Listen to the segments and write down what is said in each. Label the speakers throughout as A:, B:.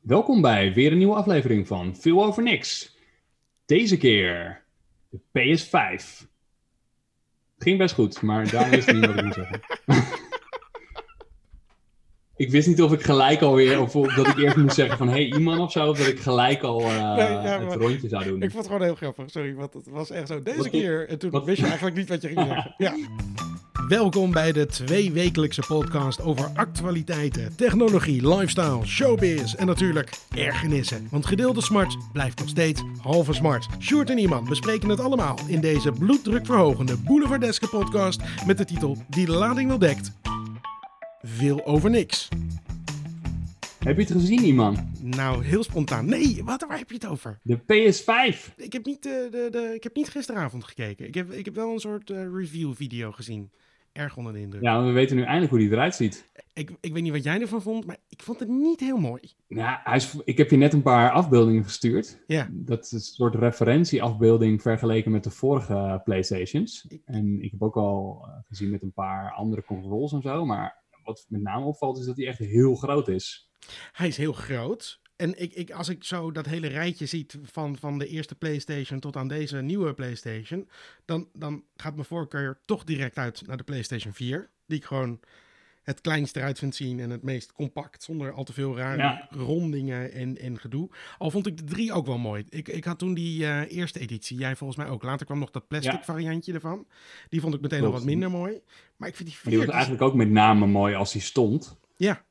A: Welkom bij weer een nieuwe aflevering van Veel Over Niks. Deze keer de PS5. Ging best goed, maar daar wist ik niet wat ik moet zeggen. ik wist niet of ik gelijk alweer, of of dat ik eerst moest zeggen van hey iemand of zo, of dat ik gelijk al eh,
B: Nee, ja, maar-
A: het rondje zou doen.
B: Ik vond het gewoon heel grappig, sorry, want het was echt zo. Deze
A: Wat-
B: keer, en toen
A: wat-
B: wist je eigenlijk niet wat je ging zeggen. Ja.
C: Welkom bij de tweewekelijkse podcast over actualiteiten, technologie, lifestyle, showbiz en natuurlijk ergernissen. Want gedeelde smart blijft nog steeds halve smart. Sjoerd en Iman bespreken het allemaal in deze bloeddrukverhogende Boulevardeske podcast met de titel die de lading wel dekt. Veel over niks.
A: Heb je het gezien, iemand?
C: Nou, heel spontaan. Nee, wat, waar heb je het over?
A: De PS5.
C: Ik heb niet, eh, de, de, ik heb niet gisteravond gekeken. Ik heb, ik heb wel een soort eh, review video gezien. Erg onder de indruk.
A: Ja, we weten nu eindelijk hoe die eruit ziet.
C: Ik, ik weet niet wat jij ervan vond, maar ik vond het niet heel mooi.
A: Nou, hij is, ik heb je net een paar afbeeldingen gestuurd.
C: Ja.
A: Dat is een soort referentieafbeelding vergeleken met de vorige PlayStations. En ik heb ook al eh, gezien met een paar andere consoles en zo. Maar wat met name opvalt is dat hij echt heel groot is.
C: Hij is heel groot. En ik, ik, als ik zo dat hele rijtje ziet van, van de eerste PlayStation tot aan deze nieuwe PlayStation, dan, dan gaat mijn voorkeur toch direct uit naar de PlayStation 4. Die ik gewoon het kleinst eruit vind zien en het meest compact, zonder al te veel rare
A: Ja.
C: rondingen en, en gedoe. Al vond ik de 3 ook wel mooi. Ik, ik had toen die eh, eerste editie, jij volgens mij ook. Later kwam nog dat plastic
A: Ja.
C: variantje ervan. Die vond ik meteen al
A: Klopt.
C: wat minder mooi. Maar ik vind die dus- 4...
A: Maar die was eigenlijk ook met name mooi als hij stond.
C: Ja,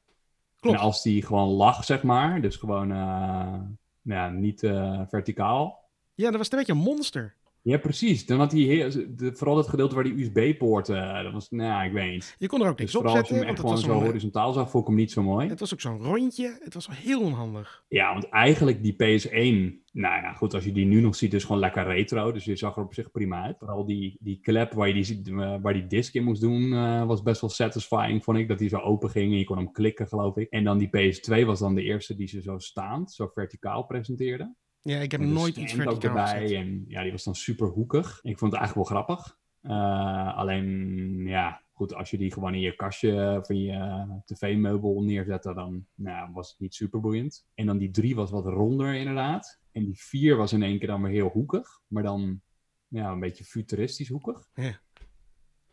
C: klopt.
A: En als die gewoon lag, zeg maar. Dus gewoon eh, nou ja, niet eh, verticaal.
C: Ja, dat was een beetje een monster.
A: Ja, precies. Dan had hij heel- de- vooral dat gedeelte waar die USB-poorten... dat was, nou ja, ik weet niet.
C: Je kon er ook
A: Dus
C: niks
A: vooral
C: op
A: als je
C: zetten,
A: hem
C: want
A: echt
C: het
A: gewoon
C: was,
A: zo
C: zo'n,
A: horizontaal zag, vond ik hem niet zo mooi.
C: het was ook zo'n rondje. Het was wel heel onhandig.
A: Ja, want eigenlijk die PS1, nou ja, goed, als je die nu nog ziet, is gewoon lekker retro. Dus je zag er op zich prima uit. Vooral die, die klep waar je die, ziet- eh, waar die disc in moest doen, eh, was best wel satisfying, vond ik. Dat die zo open ging en je kon hem klikken, geloof ik. En dan die PS2 was dan de eerste die ze zo staand, zo verticaal presenteerde.
C: Ja, ik heb
A: Met een
C: nooit iets
A: stand ook
C: verticaal gezet.
A: En ja, die was dan super hoekig. Ik vond het eigenlijk wel grappig. Eh, alleen, ja, goed, als je die gewoon in je kastje van je eh, tv-meubel neerzette, dan nou, was het niet super boeiend. En dan die drie was wat ronder, inderdaad. En die vier was in één keer dan weer heel hoekig, maar dan ja, een beetje futuristisch hoekig.
C: Ja.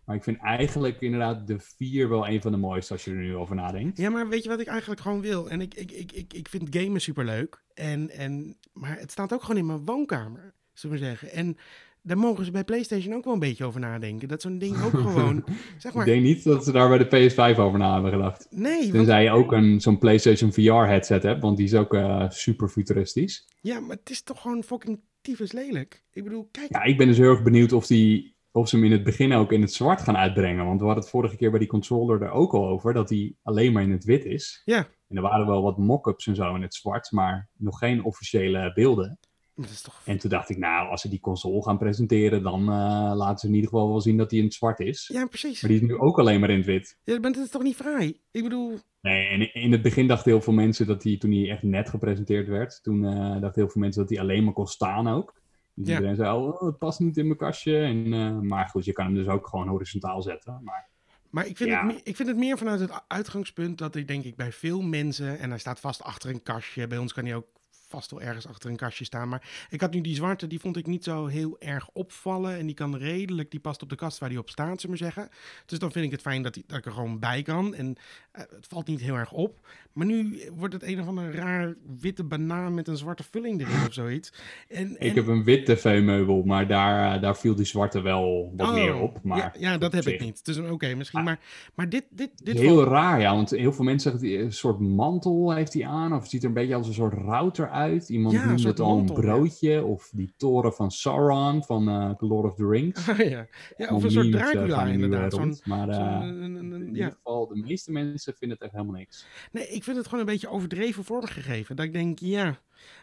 A: Maar ik vind eigenlijk inderdaad de vier wel een van de mooiste als je er nu over nadenkt.
C: Ja, maar weet je wat ik eigenlijk gewoon wil? En ik, ik, ik, ik, ik vind gamen superleuk. En, en, maar het staat ook gewoon in mijn woonkamer, zullen we zeggen. En daar mogen ze bij PlayStation ook wel een beetje over nadenken. Dat zo'n ding ook gewoon... zeg
A: Ik
C: maar,
A: denk niet dat ze daar bij de PS5 over na hebben gedacht.
C: nee, want-
A: Tenzij je ook een, zo'n PlayStation VR headset hebt, want die is ook eh, super futuristisch.
C: ja, maar het is toch gewoon fucking tyfus lelijk. Ik bedoel, kijk,
A: Ja, ik ben dus heel erg benieuwd of, die, of ze hem in het begin ook in het zwart gaan uitbrengen. Want we hadden het vorige keer bij die controller er ook al over, dat die alleen maar in het wit is.
C: Ja.
A: En er waren wel wat mock-ups en zo in het zwart, maar nog geen officiële beelden.
C: maar dat is toch...
A: En toen dacht ik, nou, als ze die console gaan presenteren, dan eh, laten ze in ieder geval wel zien dat die in het zwart is.
C: Ja, precies.
A: Maar die is nu ook alleen maar in het wit.
C: Ja, maar dat is toch niet fraai? Ik bedoel,
A: Nee, en in het begin dachten heel veel mensen dat hij, toen hij echt net gepresenteerd werd, toen eh, dachten heel veel mensen dat hij alleen maar kon staan ook. Dus
C: Ja.
A: iedereen zei, oh, het past niet in mijn kastje. En, eh, maar goed, je kan hem dus ook gewoon horizontaal zetten. Maar
C: Maar ik vind,
A: Ja.
C: het, me- ik vind het meer vanuit het u- uitgangspunt dat ik denk ik bij veel mensen, en hij staat vast achter een kastje, bij ons kan hij ook vast wel ergens achter een kastje staan, maar ik had nu die zwarte, die vond ik niet zo heel erg opvallen en die kan redelijk, die past op de kast waar die op staat, zullen we zeggen. Dus dan vind ik het fijn dat, die, dat ik er gewoon bij kan en eh, het valt niet heel erg op. Maar nu wordt het een of ander raar witte banaan met een zwarte vulling erin of zoiets. En,
A: ik
C: en-
A: heb een wit tv-meubel, maar daar, eh, daar viel die zwarte wel wat
C: Oh,
A: meer op. Maar
C: ja, ja, dat heb
A: zich.
C: ik niet. Dus oké, misschien,
A: Ah.
C: maar, maar dit, dit, dit
A: heel raar, ja. Want heel veel mensen zeggen, dat hij een soort mantel heeft hij aan. Of het ziet er een beetje als een soort router uit. Iemand
C: Ja, een
A: noemde
C: soort
A: het al een
C: mantel, ja.
A: broodje. Of die toren van Sauron van eh The Lord of the Rings.
C: Ah, ja. ja, of een soort
A: memes, eh,
C: Dracula
A: gaan nu, eh,
C: inderdaad. Zo'n,
A: rond, maar
C: zo'n,
A: eh,
C: een- een- een-
A: in ieder
C: ja.
A: geval, de meeste mensen vinden het echt helemaal niks.
C: Nee, ik vind het gewoon een beetje overdreven vormgegeven. Dat ik denk, ja.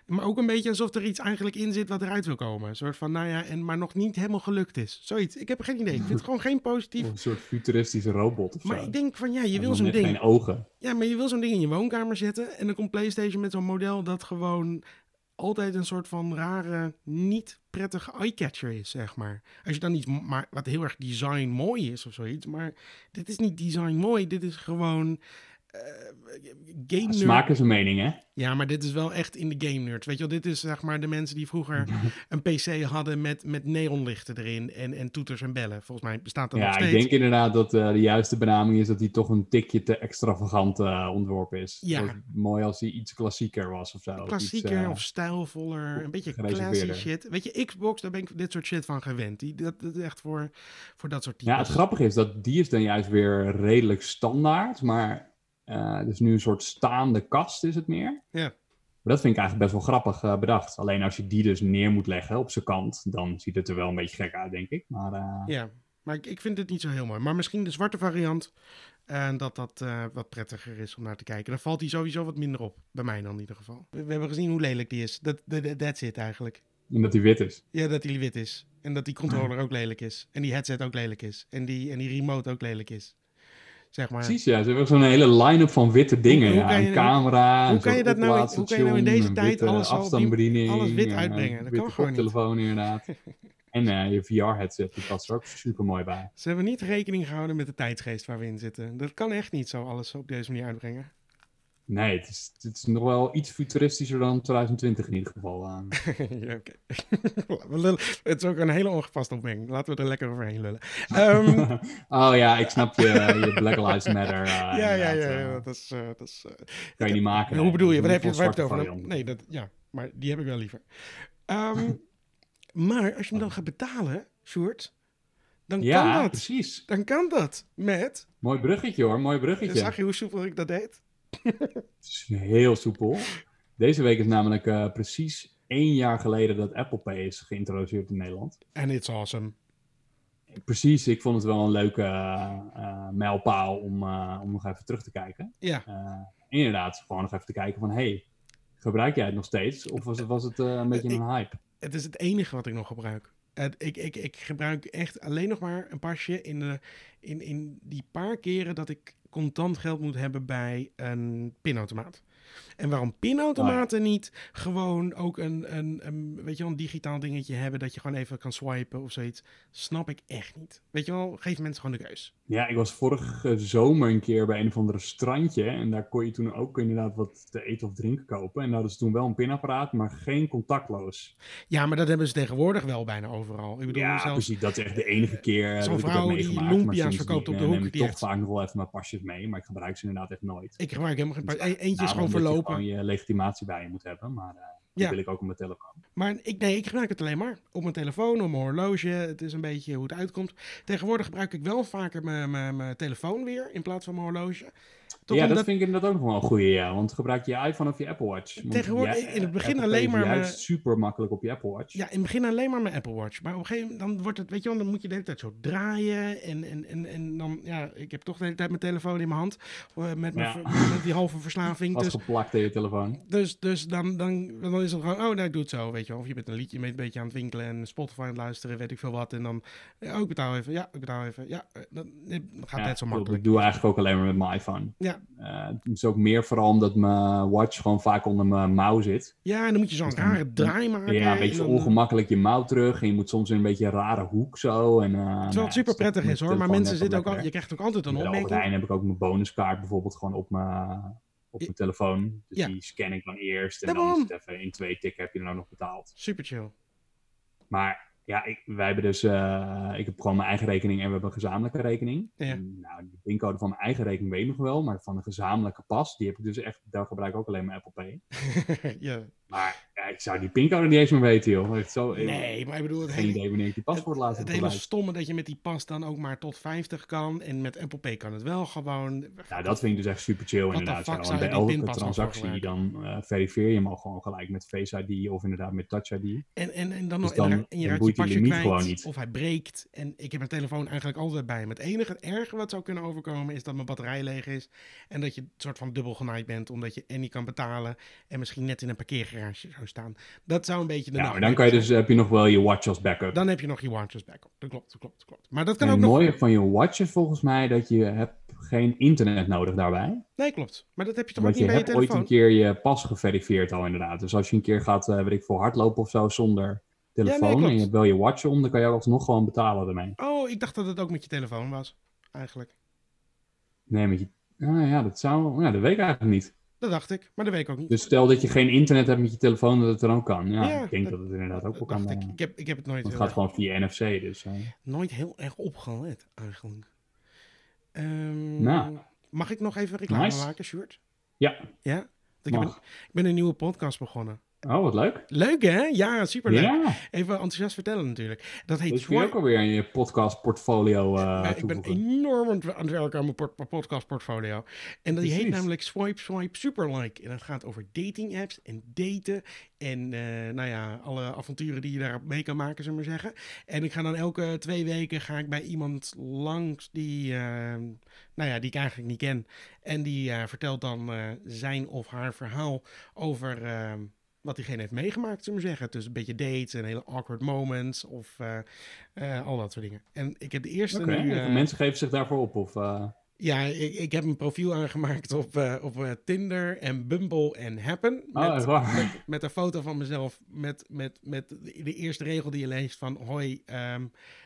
C: Maar ook een beetje alsof er iets eigenlijk in zit wat eruit wil komen. Een soort van, nou ja, en, maar nog niet helemaal gelukt is. Zoiets. Ik heb geen idee. Ik vind het gewoon geen
A: Of
C: positief.
A: een soort futuristische robot of zo.
C: Maar ik denk van, ja, je
A: Met
C: wil
A: nog
C: zo'n
A: net
C: ding.
A: geen ogen.
C: Ja, maar je wil zo'n ding in je woonkamer zetten. En dan komt PlayStation met zo'n model dat gewoon altijd een soort van rare, niet prettige eyecatcher is, zeg maar. Als je dan iets m- maar wat heel erg design mooi is of zoiets. Maar dit is niet design mooi, dit is gewoon eh, game nerd.
A: Smaak is een mening, hè?
C: Ja, maar dit is wel echt in de game nerd. Weet je wel, dit is zeg maar de mensen die vroeger een PC hadden met, met neonlichten erin en, en toeters en bellen. Volgens mij bestaat dat nog
A: Ja, ik
C: steeds.
A: denk inderdaad dat eh, de juiste benaming is dat hij toch een tikje te extravagant eh, ontworpen is.
C: Ja.
A: Het was mooi als hij iets klassieker was of zo. of iets,
C: Klassieker
A: eh,
C: of stijlvoller, een beetje classy
A: gereserveerder.
C: shit. Weet je, Xbox, daar ben ik dit soort shit van gewend. Die, dat, dat is echt voor, voor dat soort types.
A: Ja, het grappige is dat die is dan juist weer redelijk standaard, maar eh dus nu een soort staande kast is het meer.
C: Ja.
A: Maar dat vind ik eigenlijk best wel grappig eh, bedacht. Alleen als je die dus neer moet leggen op zijn kant, dan ziet het er wel een beetje gek uit, denk ik. Maar eh,
C: Ja, maar ik, ik vind het niet zo heel mooi. Maar misschien de zwarte variant, eh, dat dat eh, wat prettiger is om naar te kijken. Dan valt die sowieso wat minder op, bij mij dan in ieder geval. We, we hebben gezien hoe lelijk die is. Dat, dat, dat- that's it eigenlijk.
A: omdat hij wit is.
C: Ja, dat die wit is. En dat die controller ook lelijk is. En die headset ook lelijk is. En die, en die remote ook lelijk is. Zeg maar.
A: Precies, ja. Ze hebben zo'n hele line-up van witte dingen.
C: Hoe
A: ja.
C: kan je- nou-
A: een camera,
C: hoe
A: een
C: kan je
A: soort
C: dat nou- hoe kan je
A: oplaadstation,
C: nou in deze
A: een
C: tijd
A: witte
C: alles al op die-
A: afstandsbediening,
C: alles wit
A: eh,
C: uitbrengen? Dat
A: witte
C: kan gewoon niet.
A: koptelefoon inderdaad. en eh, je VR-headset, die past er ook super mooi bij.
C: Ze hebben niet rekening gehouden met de tijdsgeest waar we in zitten. Dat kan echt niet zo alles op deze manier uitbrengen.
A: Nee, het is, het is nog wel iets futuristischer dan 2020 in ieder geval. eh.
C: ja, oké. We lullen- het is ook een hele ongepaste opmerking. Laten we er lekker overheen lullen. Ehm,
A: oh ja, ik snap je, je Black Lives Matter. eh,
C: ja, ja,
A: inderdaad,
C: ja,
A: eh,
C: ja, dat is... eh, dat is eh,
A: kan
C: ik-
A: je niet maken.
C: hoe
A: nee.
C: bedoel je?
A: moet
C: Waar heb je het waar
A: van
C: heb je het
A: zwarte
C: over? nou?
A: varianten.
C: Nee, dat, ja, maar die heb ik wel liever. Ehm, maar als je hem dan gaat betalen, Sjoerd, dan
A: Oh. Ja,
C: kan dat.
A: precies.
C: Dan kan dat met...
A: Mooi bruggetje hoor, mooi bruggetje.
C: Zag je hoe soepel ik dat deed?
A: Het is heel soepel. Deze week is namelijk eh, precies één jaar geleden dat Apple Pay is geïntroduceerd in Nederland.
C: En it's awesome.
A: Precies, ik vond het wel een leuke eh, eh, mijlpaal om, eh, om nog even terug te kijken.
C: Ja.
A: Eh, inderdaad, gewoon nog even te kijken van, hey, gebruik jij het nog steeds? Of was het, was het eh, een beetje een hype?
C: Het is het enige wat ik nog gebruik. Het, ik, ik, ik gebruik echt alleen nog maar een pasje in, de, in, in die paar keren dat ik contant geld moet hebben bij een pinautomaat. En waarom pinautomaten niet gewoon ook een, een, een, weet je wel, een digitaal dingetje hebben dat je gewoon even kan swipen of zoiets, snap ik echt niet. Weet je wel, geef mensen gewoon de keus.
A: Ja, ik was vorige zomer een keer bij een of andere strandje. En daar kon je toen ook inderdaad wat te eten of drinken kopen. En daar hadden ze toen wel een pinapparaat, maar geen contactloos.
C: Ja, maar dat hebben ze tegenwoordig wel bijna overal. Ik bedoel,
A: ja,
C: zelfs
A: precies. Dat is echt de enige keer eh,
C: zo'n
A: dat ik het
C: vrouw
A: heb
C: die
A: meegemaakt.
C: lumpia's
A: maar
C: verkoopt op de
A: eh,
C: hoek,
A: neem ik
C: die
A: toch
C: echt-
A: vaak nog wel even mijn pasjes mee. Maar ik gebruik ze inderdaad echt nooit.
C: ik gebruik helemaal geen pasje. E- eentje
A: Nou,
C: is gewoon
A: omdat je
C: verlopen.
A: gewoon je legitimatie bij je moet hebben. Maar eh dat
C: Ja.
A: wil ik ook op mijn telefoon.
C: Maar ik, nee, ik gebruik het alleen maar op mijn telefoon, op mijn horloge. Het is een beetje hoe het uitkomt. Tegenwoordig gebruik ik wel vaker mijn, mijn, mijn telefoon weer in plaats van mijn horloge. Toch
A: ja,
C: omdat-
A: dat vind ik inderdaad ook nog wel een goeie, ja. Want gebruik je iPhone of je Apple Watch. Want
C: Tegenwoordig-
A: jij- eh,
C: in het begin
A: Apple Pay
C: alleen
A: is
C: maar
A: juist
C: mijn-
A: super makkelijk op je Apple Watch.
C: ja, in het begin alleen maar mijn Apple Watch. Maar op een gegeven moment dan wordt het, weet je wel, dan moet je de hele tijd zo draaien. En, en, en, en dan, ja, ik heb toch de hele tijd mijn telefoon in mijn hand. eh, Met, mijn
A: Ja.
C: ver- met die halve verslaving. Dus
A: Vastgeplakt in je telefoon.
C: Dus, dus dan, dan, dan is het gewoon, oh, nou, ik doe het zo, weet je wel. Of je bent een liedje je bent een beetje aan het winkelen en Spotify aan het luisteren, weet ik veel wat. En dan, ja, oh, ik betaal even, ja, ik betaal even, ja. eh, Dat, dat gaat
A: Ja,
C: net zo
A: ik bedoel,
C: makkelijk.
A: Ik doe eigenlijk ook alleen maar met mijn iPhone.
C: Ja.
A: Eh, het is ook meer vooral omdat mijn watch gewoon vaak onder mijn mouw zit.
C: Ja, en dan moet je zo'n
A: Dus dan-
C: rare draai maken.
A: ja, een
C: en
A: beetje
C: dan,
A: ongemakkelijk je mouw terug. En je moet soms in een beetje een rare hoek zo. En, eh, nou ja,
C: Terwijl het super prettig
A: met
C: is hoor, maar
A: telefoon
C: mensen
A: net
C: zitten ook
A: wat
C: al, je
A: lekkerder.
C: krijgt ook altijd een
A: Bij de Albert
C: opmerking.
A: Heijn heb ik ook mijn bonuskaart bijvoorbeeld gewoon op mijn, op
C: Ja.
A: mijn telefoon. Dus
C: Ja.
A: die scan ik dan eerst. En
C: Daarom.
A: dan is het even in twee tikken heb je er nou nog betaald.
C: Super chill.
A: Maar ja, ik, wij hebben dus, eh, ik heb gewoon mijn eigen rekening en we hebben een gezamenlijke rekening.
C: Ja.
A: En, Nou, de pincode van mijn eigen rekening weet ik nog wel, maar van de gezamenlijke pas, die heb ik dus echt, daar gebruik ik ook alleen maar Apple Pay.
C: ja.
A: Maar ja, ik zou die pincode niet eens meer weten, joh. Echt zo, ik-
C: Nee, maar ik bedoel, het
A: Geen
C: hele,
A: idee wanneer ik die paswoord laatst
C: het
A: heb
C: hele
A: gebruikt.
C: stomme dat je met die pas dan ook maar tot 50 kan. En met Apple Pay kan het wel gewoon.
A: Nou, dat vind ik dus echt super chill
C: the
A: inderdaad.
C: fuck
A: zo.
C: zou
A: Want
C: je
A: bij
C: die
A: elke
C: pinpas nog voor
A: transactie dan eh, verifieer je hem al gewoon gelijk met Face ID of inderdaad met Touch ID.
C: En, en, en dan,
A: Dus
C: nog- en
A: dan-
C: ra- en
A: dan
C: je raakt je
A: boeit hij
C: pasje
A: de limiet
C: kwijt.
A: gewoon niet.
C: Of hij breekt. En ik heb mijn telefoon eigenlijk altijd bij me. Het enige het erge wat zou kunnen overkomen is dat mijn batterij leeg is. En dat je een soort van dubbel genaaid bent. Omdat je en niet kan betalen. En misschien net in een parkeergarage zou staan. Dat zou een beetje de
A: Ja, maar
C: nacht
A: dan kan je
C: zijn.
A: dus, eh, heb je nog wel je watch als backup.
C: Dan heb je nog je warranties backup. Dat klopt, dat klopt, dat klopt. Maar dat kan
A: En het
C: ook nog...
A: mooie van je watch is volgens mij dat je hebt geen internet nodig daarbij.
C: Nee, klopt. Maar dat heb je toch ook
A: Want
C: niet
A: je
C: bij je
A: hebt ooit
C: telefoon?
A: een keer je pas geverifieerd al inderdaad. Dus als je een keer gaat, eh, weet ik veel, hardlopen of zo zonder telefoon
C: klopt.
A: en je hebt wel je watch om, dan kan je ook alsnog gewoon betalen ermee.
C: Oh, ik dacht dat het ook met je telefoon was. Eigenlijk.
A: Nee, met je, Ah, ja, dat zou... Ja, dat weet ik eigenlijk niet.
C: Dat dacht ik, maar dat weet ik ook niet.
A: Dus stel dat je geen internet hebt met je telefoon, dat het er ook kan. Ja,
C: Ja,
A: ik denk
C: dat-
A: dat het inderdaad ook wel
C: Dat
A: kan.
C: dacht
A: eh,
C: ik.
A: want
C: Ik, heb, ik heb het nooit,
A: Het
C: heel
A: gaat
C: erg,
A: gewoon via NFC, dus... eh,
C: nooit heel erg opgelet, eigenlijk. Ehm,
A: Nou.
C: Mag ik nog even reclame
A: Nice.
C: maken, Sjoerd?
A: Ja,
C: Ja? Want Ik, heb een-
A: mag.
C: ik ben een nieuwe podcast begonnen.
A: Oh, wat leuk.
C: Leuk, hè? Ja, superleuk.
A: Ja,
C: Even enthousiast vertellen natuurlijk. Dat heet
A: dat kun je
C: Swipe.
A: ook alweer in je podcast portfolio eh
C: Maar ik ben
A: toevoegen.
C: enorm aan het- aan het werken aan mijn por- podcastportfolio. En die heet
A: Precies.
C: namelijk Swipe Swipe Superlike. En dat gaat over dating apps en daten. En eh, nou ja, alle avonturen die je daarop mee kan maken, zullen we maar zeggen. En ik ga dan elke twee weken ga ik bij iemand langs die, eh, nou ja, die ik eigenlijk niet ken. En die eh, vertelt dan eh, zijn of haar verhaal over... eh, wat diegene heeft meegemaakt, zullen we maar zeggen. Dus een beetje dates en hele awkward moments of eh, eh, al dat soort dingen. En ik heb de eerste
A: Oké,
C: nu...
A: en
C: eh,
A: mensen geven zich daarvoor op. Of, eh,
C: ja, ik, ik heb een profiel aangemaakt op, eh, op eh, Tinder en Bumble en Happen.
A: oh, echt
C: met,
A: waar.
C: met een foto van mezelf. Met, met, met de de eerste regel die je leest van... Hoi, ehm,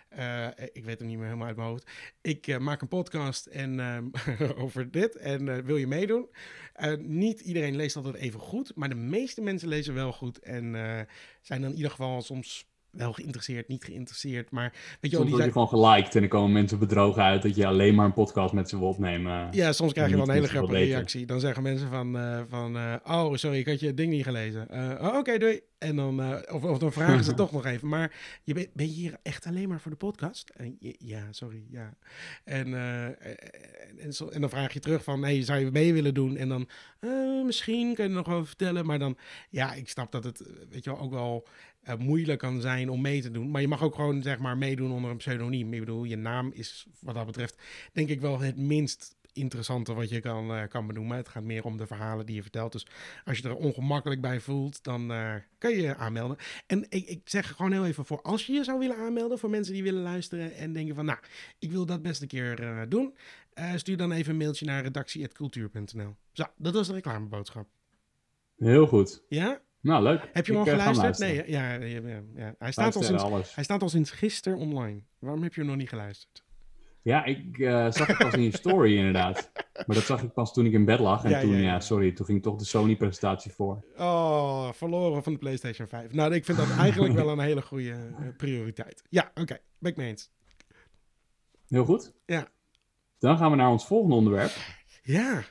C: eh, ik weet hem niet meer helemaal uit mijn hoofd. Ik eh, maak een podcast en, ehm, over dit. En eh, wil je meedoen? Eh, niet iedereen leest altijd even goed. Maar de meeste mensen lezen wel goed. En eh, zijn dan in ieder geval soms... Wel geïnteresseerd, niet geïnteresseerd, maar
A: Soms
C: weet je wel, die
A: word je
C: zijn-
A: gewoon geliked en dan komen mensen bedrogen uit dat je alleen maar een podcast met ze wil opnemen.
C: Ja, soms krijg je
A: niet
C: wel een hele
A: is het wel
C: grappige
A: beter.
C: reactie. Dan zeggen mensen van, eh, van eh, oh, sorry, ik had je ding niet gelezen. Eh, oh, oké, doei. En dan, eh, of, of dan vragen ze toch nog even. Maar je ben, ben je hier echt alleen maar voor de podcast? En je- ja, sorry, ja. En, eh, en, en, zo- en dan vraag je terug van, hey, zou je mee willen doen? En dan, eh, misschien kan je er nog over vertellen. Maar dan, ja, ik snap dat het, eh, weet je wel, ook wel eh, moeilijk kan zijn om mee te doen. Maar je mag ook gewoon, zeg maar, meedoen onder een pseudoniem. Ik bedoel, je naam is wat dat betreft, denk ik wel het minst interessante wat je kan, eh, kan benoemen. Het gaat meer om de verhalen die je vertelt. Dus als je er ongemakkelijk bij voelt, dan eh, kan je je aanmelden. En ik, ik zeg gewoon heel even voor, als je je zou willen aanmelden, voor mensen die willen luisteren en denken van, nou, ik wil dat best een keer eh, doen, eh, stuur dan even een mailtje naar redactie.cultuur.nl. Zo, dat was de reclameboodschap.
A: Heel goed.
C: Ja?
A: Nou, leuk.
C: Heb je hem
A: Ik,
C: al
A: eh, ga
C: geluisterd? Nee,
A: luisteren.
C: hè? ja, ja, ja, ja. Hij, staat al
A: Luisteren,
C: sinds,
A: alles.
C: hij staat al sinds gisteren online. Waarom heb je hem nog niet geluisterd?
A: Ja, ik eh, zag het pas in je story inderdaad. Maar dat zag ik pas toen ik in bed lag. En
C: Ja,
A: toen,
C: ja,
A: ja,
C: ja.
A: sorry, toen ging toch de Sony-presentatie voor.
C: Oh, verloren van de PlayStation 5. Nou, ik vind dat eigenlijk wel een hele goede eh, prioriteit. Ja, oké. Ben ik mee eens.
A: Heel goed.
C: Ja.
A: Dan gaan we naar ons volgende onderwerp.
C: Ja.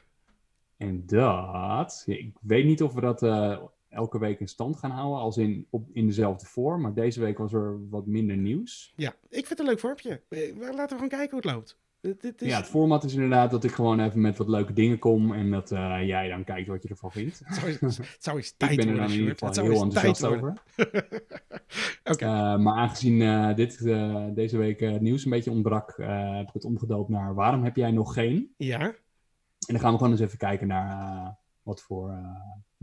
A: En dat, ik weet niet of we dat eh, elke week in stand gaan houden, als in, op, in dezelfde vorm. Maar deze week was er wat minder nieuws.
C: Ja, ik vind het een leuk vormpje. Eh, Laten we gewoon kijken hoe het loopt. Dit, dit is...
A: Ja, het format is inderdaad dat ik gewoon even met wat leuke dingen kom en dat eh, jij dan kijkt wat je ervan vindt.
C: het, zou, eens- het zou eens
A: Ik
C: tijd
A: ben er
C: worden,
A: dan in ieder
C: Sjoerd. Het
A: geval
C: zou
A: heel
C: eens tijd
A: enthousiast
C: worden.
A: over.
C: Oké.
A: Eh, maar aangezien eh, dit, eh, deze week eh, het nieuws een beetje ontbrak, eh, heb ik het omgedoopt naar waarom heb jij nog geen?
C: Ja.
A: En dan gaan we gewoon eens even kijken naar eh, wat voor eh,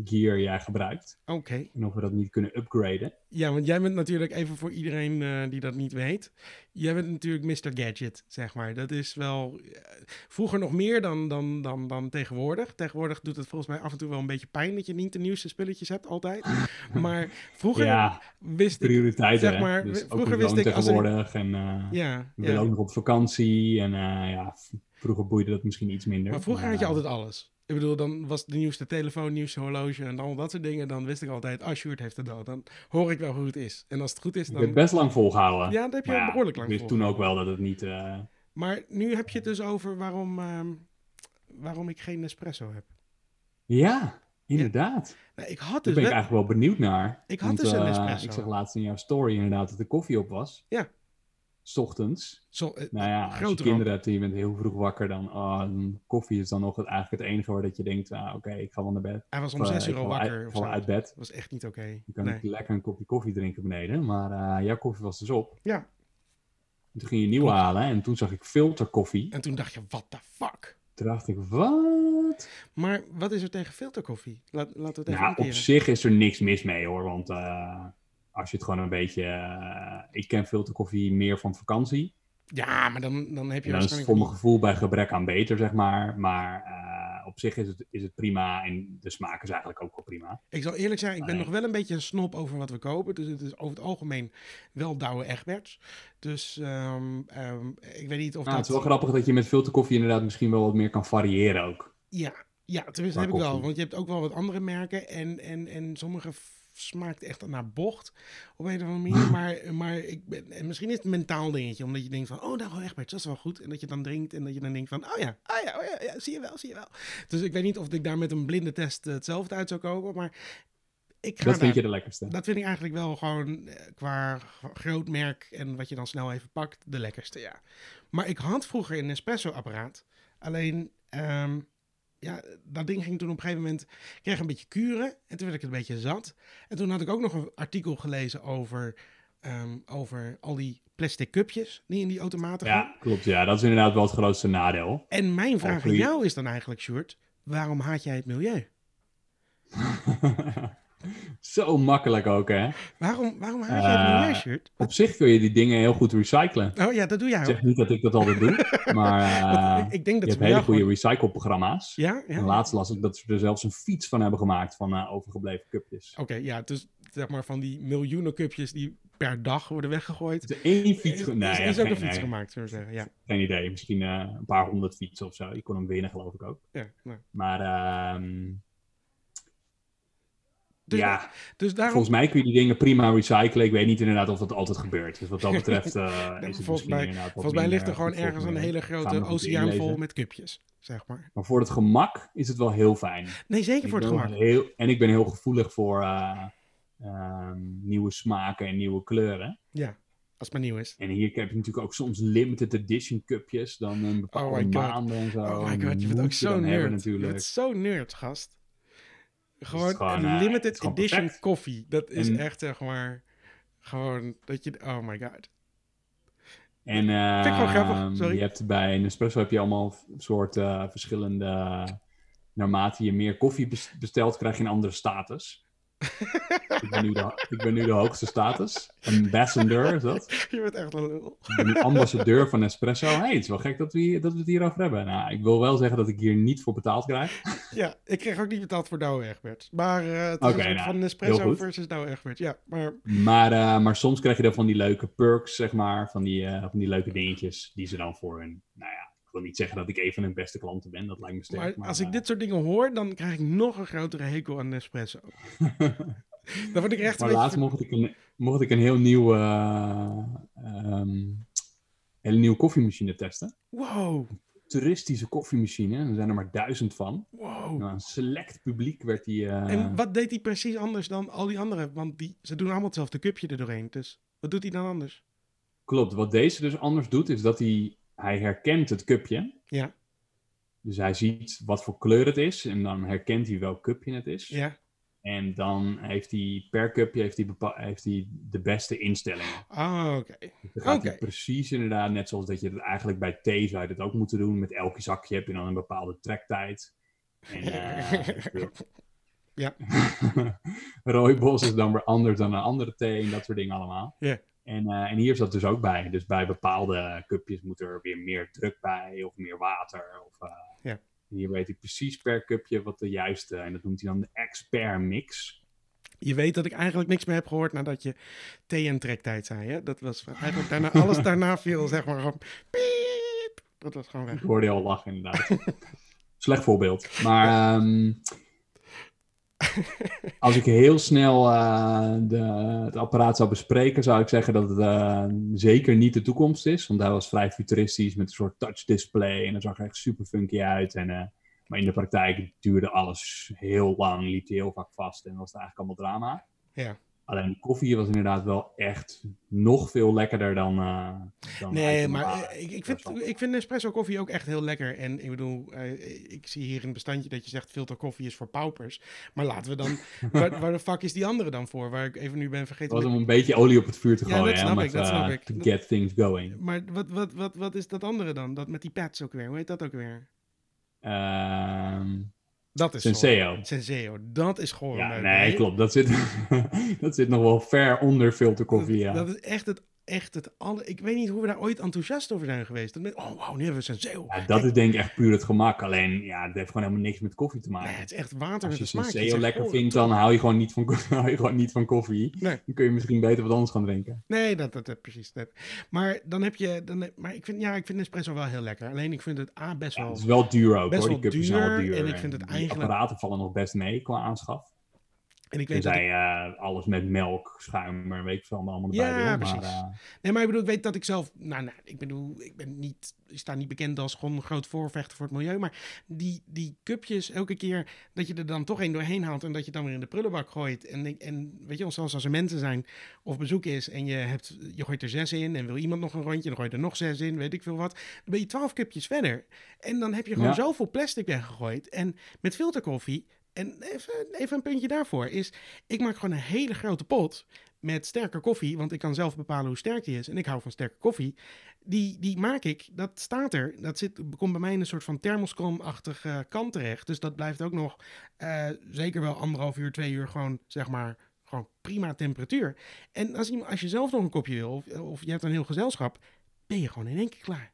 A: gear jij gebruikt.
C: Oké.
A: En of we dat niet kunnen upgraden.
C: Ja, want jij bent natuurlijk even voor iedereen eh, die dat niet weet. Jij bent natuurlijk Mr. Gadget, zeg maar. Dat is wel eh, vroeger nog meer dan, dan, dan, dan tegenwoordig. Tegenwoordig doet het volgens mij af en toe wel een beetje pijn dat je niet de nieuwste spulletjes hebt altijd. Maar vroeger
A: Ja,
C: wist ik.
A: prioriteiten.
C: zeg maar,
A: hè? dus
C: w-
A: ook
C: vroeger
A: een
C: wist
A: loon
C: ik als er-
A: tegenwoordig. En eh
C: Ja,
A: we
C: ja.
A: willen ook nog op vakantie. En eh, ja, v- vroeger boeide dat misschien iets minder.
C: Maar vroeger had je
A: eh,
C: altijd alles. Ik bedoel, dan was de nieuwste telefoon, nieuwste horloge en al dat soort dingen. Dan wist ik altijd, oh, Sjoerd heeft het al. Dan hoor ik wel hoe het is. En als het goed is,
A: eh, Ik heb het
C: dan...
A: best lang volgehouden.
C: Ja, dat heb je
A: Maar
C: al behoorlijk lang
A: Ik
C: voor.
A: wist toen ook wel dat het niet... eh,
C: Maar nu heb je het dus over waarom, ehm, waarom ik geen Nespresso heb.
A: Ja, inderdaad.
C: Nou, ik had
A: Daar
C: dus
A: ben ik
C: wel-
A: eigenlijk wel benieuwd naar.
C: Ik had dus een
A: eh,
C: espresso.
A: Ik zag laatst in jouw story inderdaad dat de koffie op was.
C: Ja.
A: S ochtends.
C: Zo, eh,
A: Nou ja, als je
C: Grote
A: kinderen hebt en je bent heel vroeg wakker, dan ah, dan koffie is dan nog het, eigenlijk het enige waar dat je denkt, ah, oké, ik ga wel naar bed.
C: hij was om
A: Of, eh,
C: zes uur
A: ik
C: al
A: ga wel uit-
C: wakker.
A: ik
C: of
A: ga wel
C: zo.
A: uit bed.
C: Dat was echt niet oké.
A: Je kan
C: Nee.
A: niet lekker een kopje koffie drinken beneden, maar eh, jouw koffie was dus op.
C: Ja.
A: En toen ging je nieuwe halen en toen zag ik filterkoffie.
C: En toen dacht je, what the fuck?
A: Toen dacht ik, wat?
C: Maar wat is er tegen filterkoffie? Laat, laten we het even
A: Nou, op
C: omkeren.
A: zich is er niks mis mee hoor, want eh, als je het gewoon een beetje... eh, ik ken filterkoffie meer van vakantie.
C: Ja, maar dan, dan
A: En dan is
C: heb je
A: het
C: waarschijnlijk...
A: voor mijn gevoel bij gebrek aan beter, zeg maar. Maar eh, op zich is het, is het prima en de smaak is eigenlijk ook wel prima.
C: Ik zal eerlijk zijn, ik ben
A: Nee.
C: nog wel een beetje een snob over wat we kopen. Dus het is over het algemeen wel Douwe Egberts. Dus ehm, ehm, ik weet niet of
A: Nou,
C: dat...
A: het is wel grappig dat je met filter koffie inderdaad misschien wel wat meer kan variëren ook.
C: Ja, ja
A: Qua
C: tenminste heb ik wel.
A: koffie.
C: Want je hebt ook wel wat andere merken. En, en, en sommige f- smaakt echt naar bocht. Op een of andere manier. maar maar ik ben, en misschien is het een mentaal dingetje. Omdat je denkt van, oh nou Egberts, dat is wel goed. En dat je dan drinkt en dat je dan denkt van, oh ja, oh ja, oh ja, ja, zie je wel, zie je wel. Dus ik weet niet of ik daar met een blinde test eh, hetzelfde uit zou komen. Maar ik ga
A: Dat
C: daar-
A: vind je de lekkerste.
C: dat vind ik eigenlijk wel gewoon eh, qua g- groot merk en wat je dan snel even pakt, de lekkerste, ja. Maar ik had vroeger een Nespresso-apparaat. Alleen, ehm, ja, dat ding ging toen op een gegeven moment... Ik kreeg een beetje kuren en toen werd ik het een beetje zat. En toen had ik ook nog een artikel gelezen over, ehm, over al die plastic cupjes die in die automaten gaan.
A: Ja, klopt. Ja, dat is inderdaad wel het grootste nadeel.
C: En mijn vraag aan
A: goeie.
C: jou is dan eigenlijk, Sjoerd, waarom haat jij het milieu?
A: Zo makkelijk ook, hè?
C: Waarom, waarom haat jij het
A: Eh,
C: milieu, Sjoerd?
A: Op zich kun je die dingen heel goed recyclen.
C: Oh ja, dat doe jij
A: Ik
C: ook.
A: zeg niet dat ik dat altijd doe, maar eh,
C: Want ik, ik denk
A: je
C: dat ze
A: hebt
C: bij jou
A: hele
C: gewoon-
A: goede recycleprogramma's.
C: Ja, ja.
A: En laatst las ik dat ze er zelfs een fiets van hebben gemaakt van eh, overgebleven cupjes.
C: Oké, ja, dus zeg maar van die miljoenen cupjes die per dag worden weggegooid.
A: Dus één fiets...
C: Is,
A: ge- Nee,
C: is,
A: ja,
C: is ook
A: geen,
C: een fiets
A: nee,
C: gemaakt, zullen we zeggen. Ja,
A: geen idee. Misschien eh, een paar honderd fietsen of zo. Ik kon hem winnen, geloof ik ook.
C: ja, nou.
A: Maar ehm,
C: Dus,
A: ja,
C: dus daarom,
A: volgens mij kun je die dingen prima recyclen. Ik weet niet inderdaad of dat altijd gebeurt. Dus wat dat betreft eh, is het
C: volgens
A: misschien
C: mij-
A: inderdaad wat
C: volgens mij
A: minder
C: ligt er gewoon
A: goed voor het
C: ergens een
A: milieu.
C: hele
A: Gaan
C: grote
A: we goed
C: oceaan vol
A: inlezen.
C: met cupjes, zeg maar.
A: Maar voor het gemak is het wel heel fijn.
C: Nee, zeker voor
A: Ik
C: het
A: ben
C: gemak.
A: wel Heel, en ik ben heel gevoelig voor eh, ehm, nieuwe smaken en nieuwe kleuren.
C: Ja, als het maar nieuw is.
A: En hier heb je natuurlijk ook soms limited edition cupjes. Dan een
C: Oh my
A: bepaalde
C: god.
A: maanden en zo.
C: Oh
A: En
C: my
A: die
C: god, je
A: moet
C: bent ook zo
A: dan hebben
C: nerd. Je
A: natuurlijk.
C: bent zo nerd, gast. Gewoon,
A: gewoon,
C: een
A: eh, het
C: limited
A: is gewoon
C: edition
A: perfect.
C: koffie. Dat is
A: En-
C: echt, zeg maar, gewoon dat je... Oh my god.
A: En
C: Vind ik gewoon grappig,
A: ehm,
C: sorry.
A: je hebt bij Nespresso heb je allemaal soort eh, verschillende. Naarmate je meer koffie bes- bestelt, krijg je een andere status. ik, ben nu de, ik ben nu de hoogste status. Ambassador is dat.
C: Je bent echt een lul.
A: Ik ben nu ambassadeur van Nespresso. Hey, het is wel gek dat we, hier- dat we het hierover hebben. Nou, ik wil wel zeggen dat ik hier niet voor betaald krijg.
C: Ja, ik kreeg ook niet betaald voor Douwe Egberts. Maar eh, het is
A: Oké,
C: een soort
A: nou,
C: van
A: heel
C: Nespresso
A: goed.
C: versus Douwe Egberts. Ja, maar
A: Maar, eh, maar soms krijg je dan van die leuke perks, zeg maar. Van die, eh, van die leuke dingetjes die ze dan voor hun... Nou ja, ik wil niet zeggen dat ik een van hun beste klanten ben. Dat lijkt me sterk.
C: Maar als ik
A: eh,
C: dit soort dingen hoor, dan krijg ik nog een grotere hekel aan Nespresso.
A: eh,
C: dan word ik er echt een
A: Maar
C: beetje...
A: laatst mocht ik een, mocht ik een heel nieuw, eh, ehm, hele nieuwe koffiemachine testen.
C: Wow,
A: Toeristische koffiemachine, en er zijn er maar duizend van.
C: wow.
A: Nou, een select publiek werd die. eh,
C: En wat deed hij precies anders dan al die anderen? Want die, ze doen allemaal hetzelfde cupje er doorheen. Dus wat doet hij dan anders?
A: Klopt, wat deze dus anders doet, is dat hij, hij herkent het cupje.
C: Ja.
A: Dus hij ziet wat voor kleur het is en dan herkent hij welk cupje het is.
C: Ja.
A: En dan heeft hij per cupje heeft hij bepa- heeft hij de beste instellingen.
C: Ah, oké.
A: Dan gaat
C: Oké.
A: hij precies inderdaad, net zoals dat je het eigenlijk bij thee zou je dat ook moeten doen. Met elke zakje heb je dan een bepaalde trektijd. En, eh,
C: Ja.
A: Rooibos is dan weer anders dan een andere thee en dat soort dingen allemaal.
C: Ja.
A: En, eh, en hier zat dus ook bij. Dus bij bepaalde cupjes moet er weer meer druk bij of meer water. Of, eh,
C: Ja.
A: en hier weet hij precies per cupje wat de juiste, en dat noemt hij dan de expert mix.
C: Je weet dat ik eigenlijk niks meer heb gehoord nadat je thee en trektijd zei. Hè? Dat was eigenlijk daarna, alles daarna viel, zeg maar, gewoon piep. Dat was gewoon weg.
A: Ik hoorde je al lachen, inderdaad. Slecht voorbeeld. Maar ehm, als ik heel snel eh, de, het apparaat zou bespreken, zou ik zeggen dat het eh, zeker niet de toekomst is. Want hij was vrij futuristisch met een soort touch display en dat zag er echt super funky uit. En, eh, maar in de praktijk duurde alles heel lang, liep hij heel vaak vast en was het eigenlijk allemaal drama.
C: Ja.
A: Alleen de koffie was inderdaad wel echt nog veel lekkerder dan. eh, dan
C: Nee,
A: eigenlijk
C: maar
A: normaal.
C: eh, ik, ik,
A: Dat is
C: vind,
A: wel-
C: ik vind Nespresso koffie ook echt heel lekker. En ik bedoel, eh, ik zie hier in het bestandje dat je zegt filterkoffie is voor paupers. Maar laten we dan, waar, waar de fuck is die andere dan voor? Waar ik even nu ben vergeten.
A: was om een beetje olie op het vuur te
C: Ja,
A: gooien.
C: dat
A: hè,
C: snap
A: om
C: ik,
A: het,
C: dat snap
A: eh,
C: ik.
A: To
C: Dat-
A: get things going.
C: Maar wat, wat, wat, wat is dat andere dan? Dat met die pads ook weer. Hoe heet dat ook weer?
A: Ehm
C: Dat is goor.
A: Senseo.
C: Senseo. Dat is gewoon
A: Ja, nee, klopt. Dat zit, dat zit nog wel ver onder filterkoffie. Ja.
C: Dat, dat is echt het echt het alle. Ik weet niet hoe we daar ooit enthousiast over zijn geweest. Dat we- oh, wow, nu hebben we senseo.
A: Ja, dat is denk ik echt puur het gemak. Alleen, ja, dat heeft gewoon helemaal niks met koffie te maken.
C: Nee, het is echt water
A: Als
C: met
A: je
C: een smaak.
A: senseo
C: zegt,
A: lekker
C: oh,
A: vindt, dan hou je gewoon niet van, hou je gewoon niet van koffie.
C: Nee.
A: Dan kun je misschien beter wat anders gaan drinken.
C: Nee, dat, dat, dat precies. Dat. Maar dan heb je. Dan, heb- maar ik vind, ja, ik vind Nespresso wel heel lekker. Alleen ik vind het A best
A: Ja,
C: wel.
A: het is wel duur ook
C: Best
A: hoor. Die
C: wel
A: cupjes zijn wel
C: duur
A: duur.
C: en ik vind het
A: die
C: eigenlijk-
A: apparaten vallen nog best mee qua aanschaf.
C: En ik weet dat ik-
A: Tenzij eh, alles met melk, schuim, maar weet ik veel, allemaal erbij
C: Ja,
A: wil. Maar,
C: precies.
A: eh,
C: Nee, maar ik bedoel, ik weet dat ik zelf. Nou, nou ik bedoel, ik ben niet. Ik sta niet bekend als gewoon een groot voorvechter voor het milieu. Maar die, die cupjes, elke keer dat je er dan toch één doorheen haalt. en dat je het dan weer in de prullenbak gooit. En, ik- en weet je wel, zelfs als er mensen zijn of bezoek is. en je, hebt, je gooit er zes in. en wil iemand nog een rondje, dan gooi je er nog zes in, weet ik veel wat. Dan ben je twaalf cupjes verder. En dan heb je gewoon
A: Ja.
C: zoveel plastic weggegooid. En met filterkoffie. En even, even een puntje daarvoor is, ik maak gewoon een hele grote pot met sterke koffie, want ik kan zelf bepalen hoe sterk die is. En ik hou van sterke koffie. Die, die maak ik, dat staat er. Dat zit, komt bij mij in een soort van thermoskom-achtige eh, kant terecht. Dus dat blijft ook nog eh, zeker wel anderhalf uur, twee uur gewoon, zeg maar, gewoon prima temperatuur. En als, iemand- als je zelf nog een kopje wil, of, of je hebt een heel gezelschap, ben je gewoon in één keer klaar.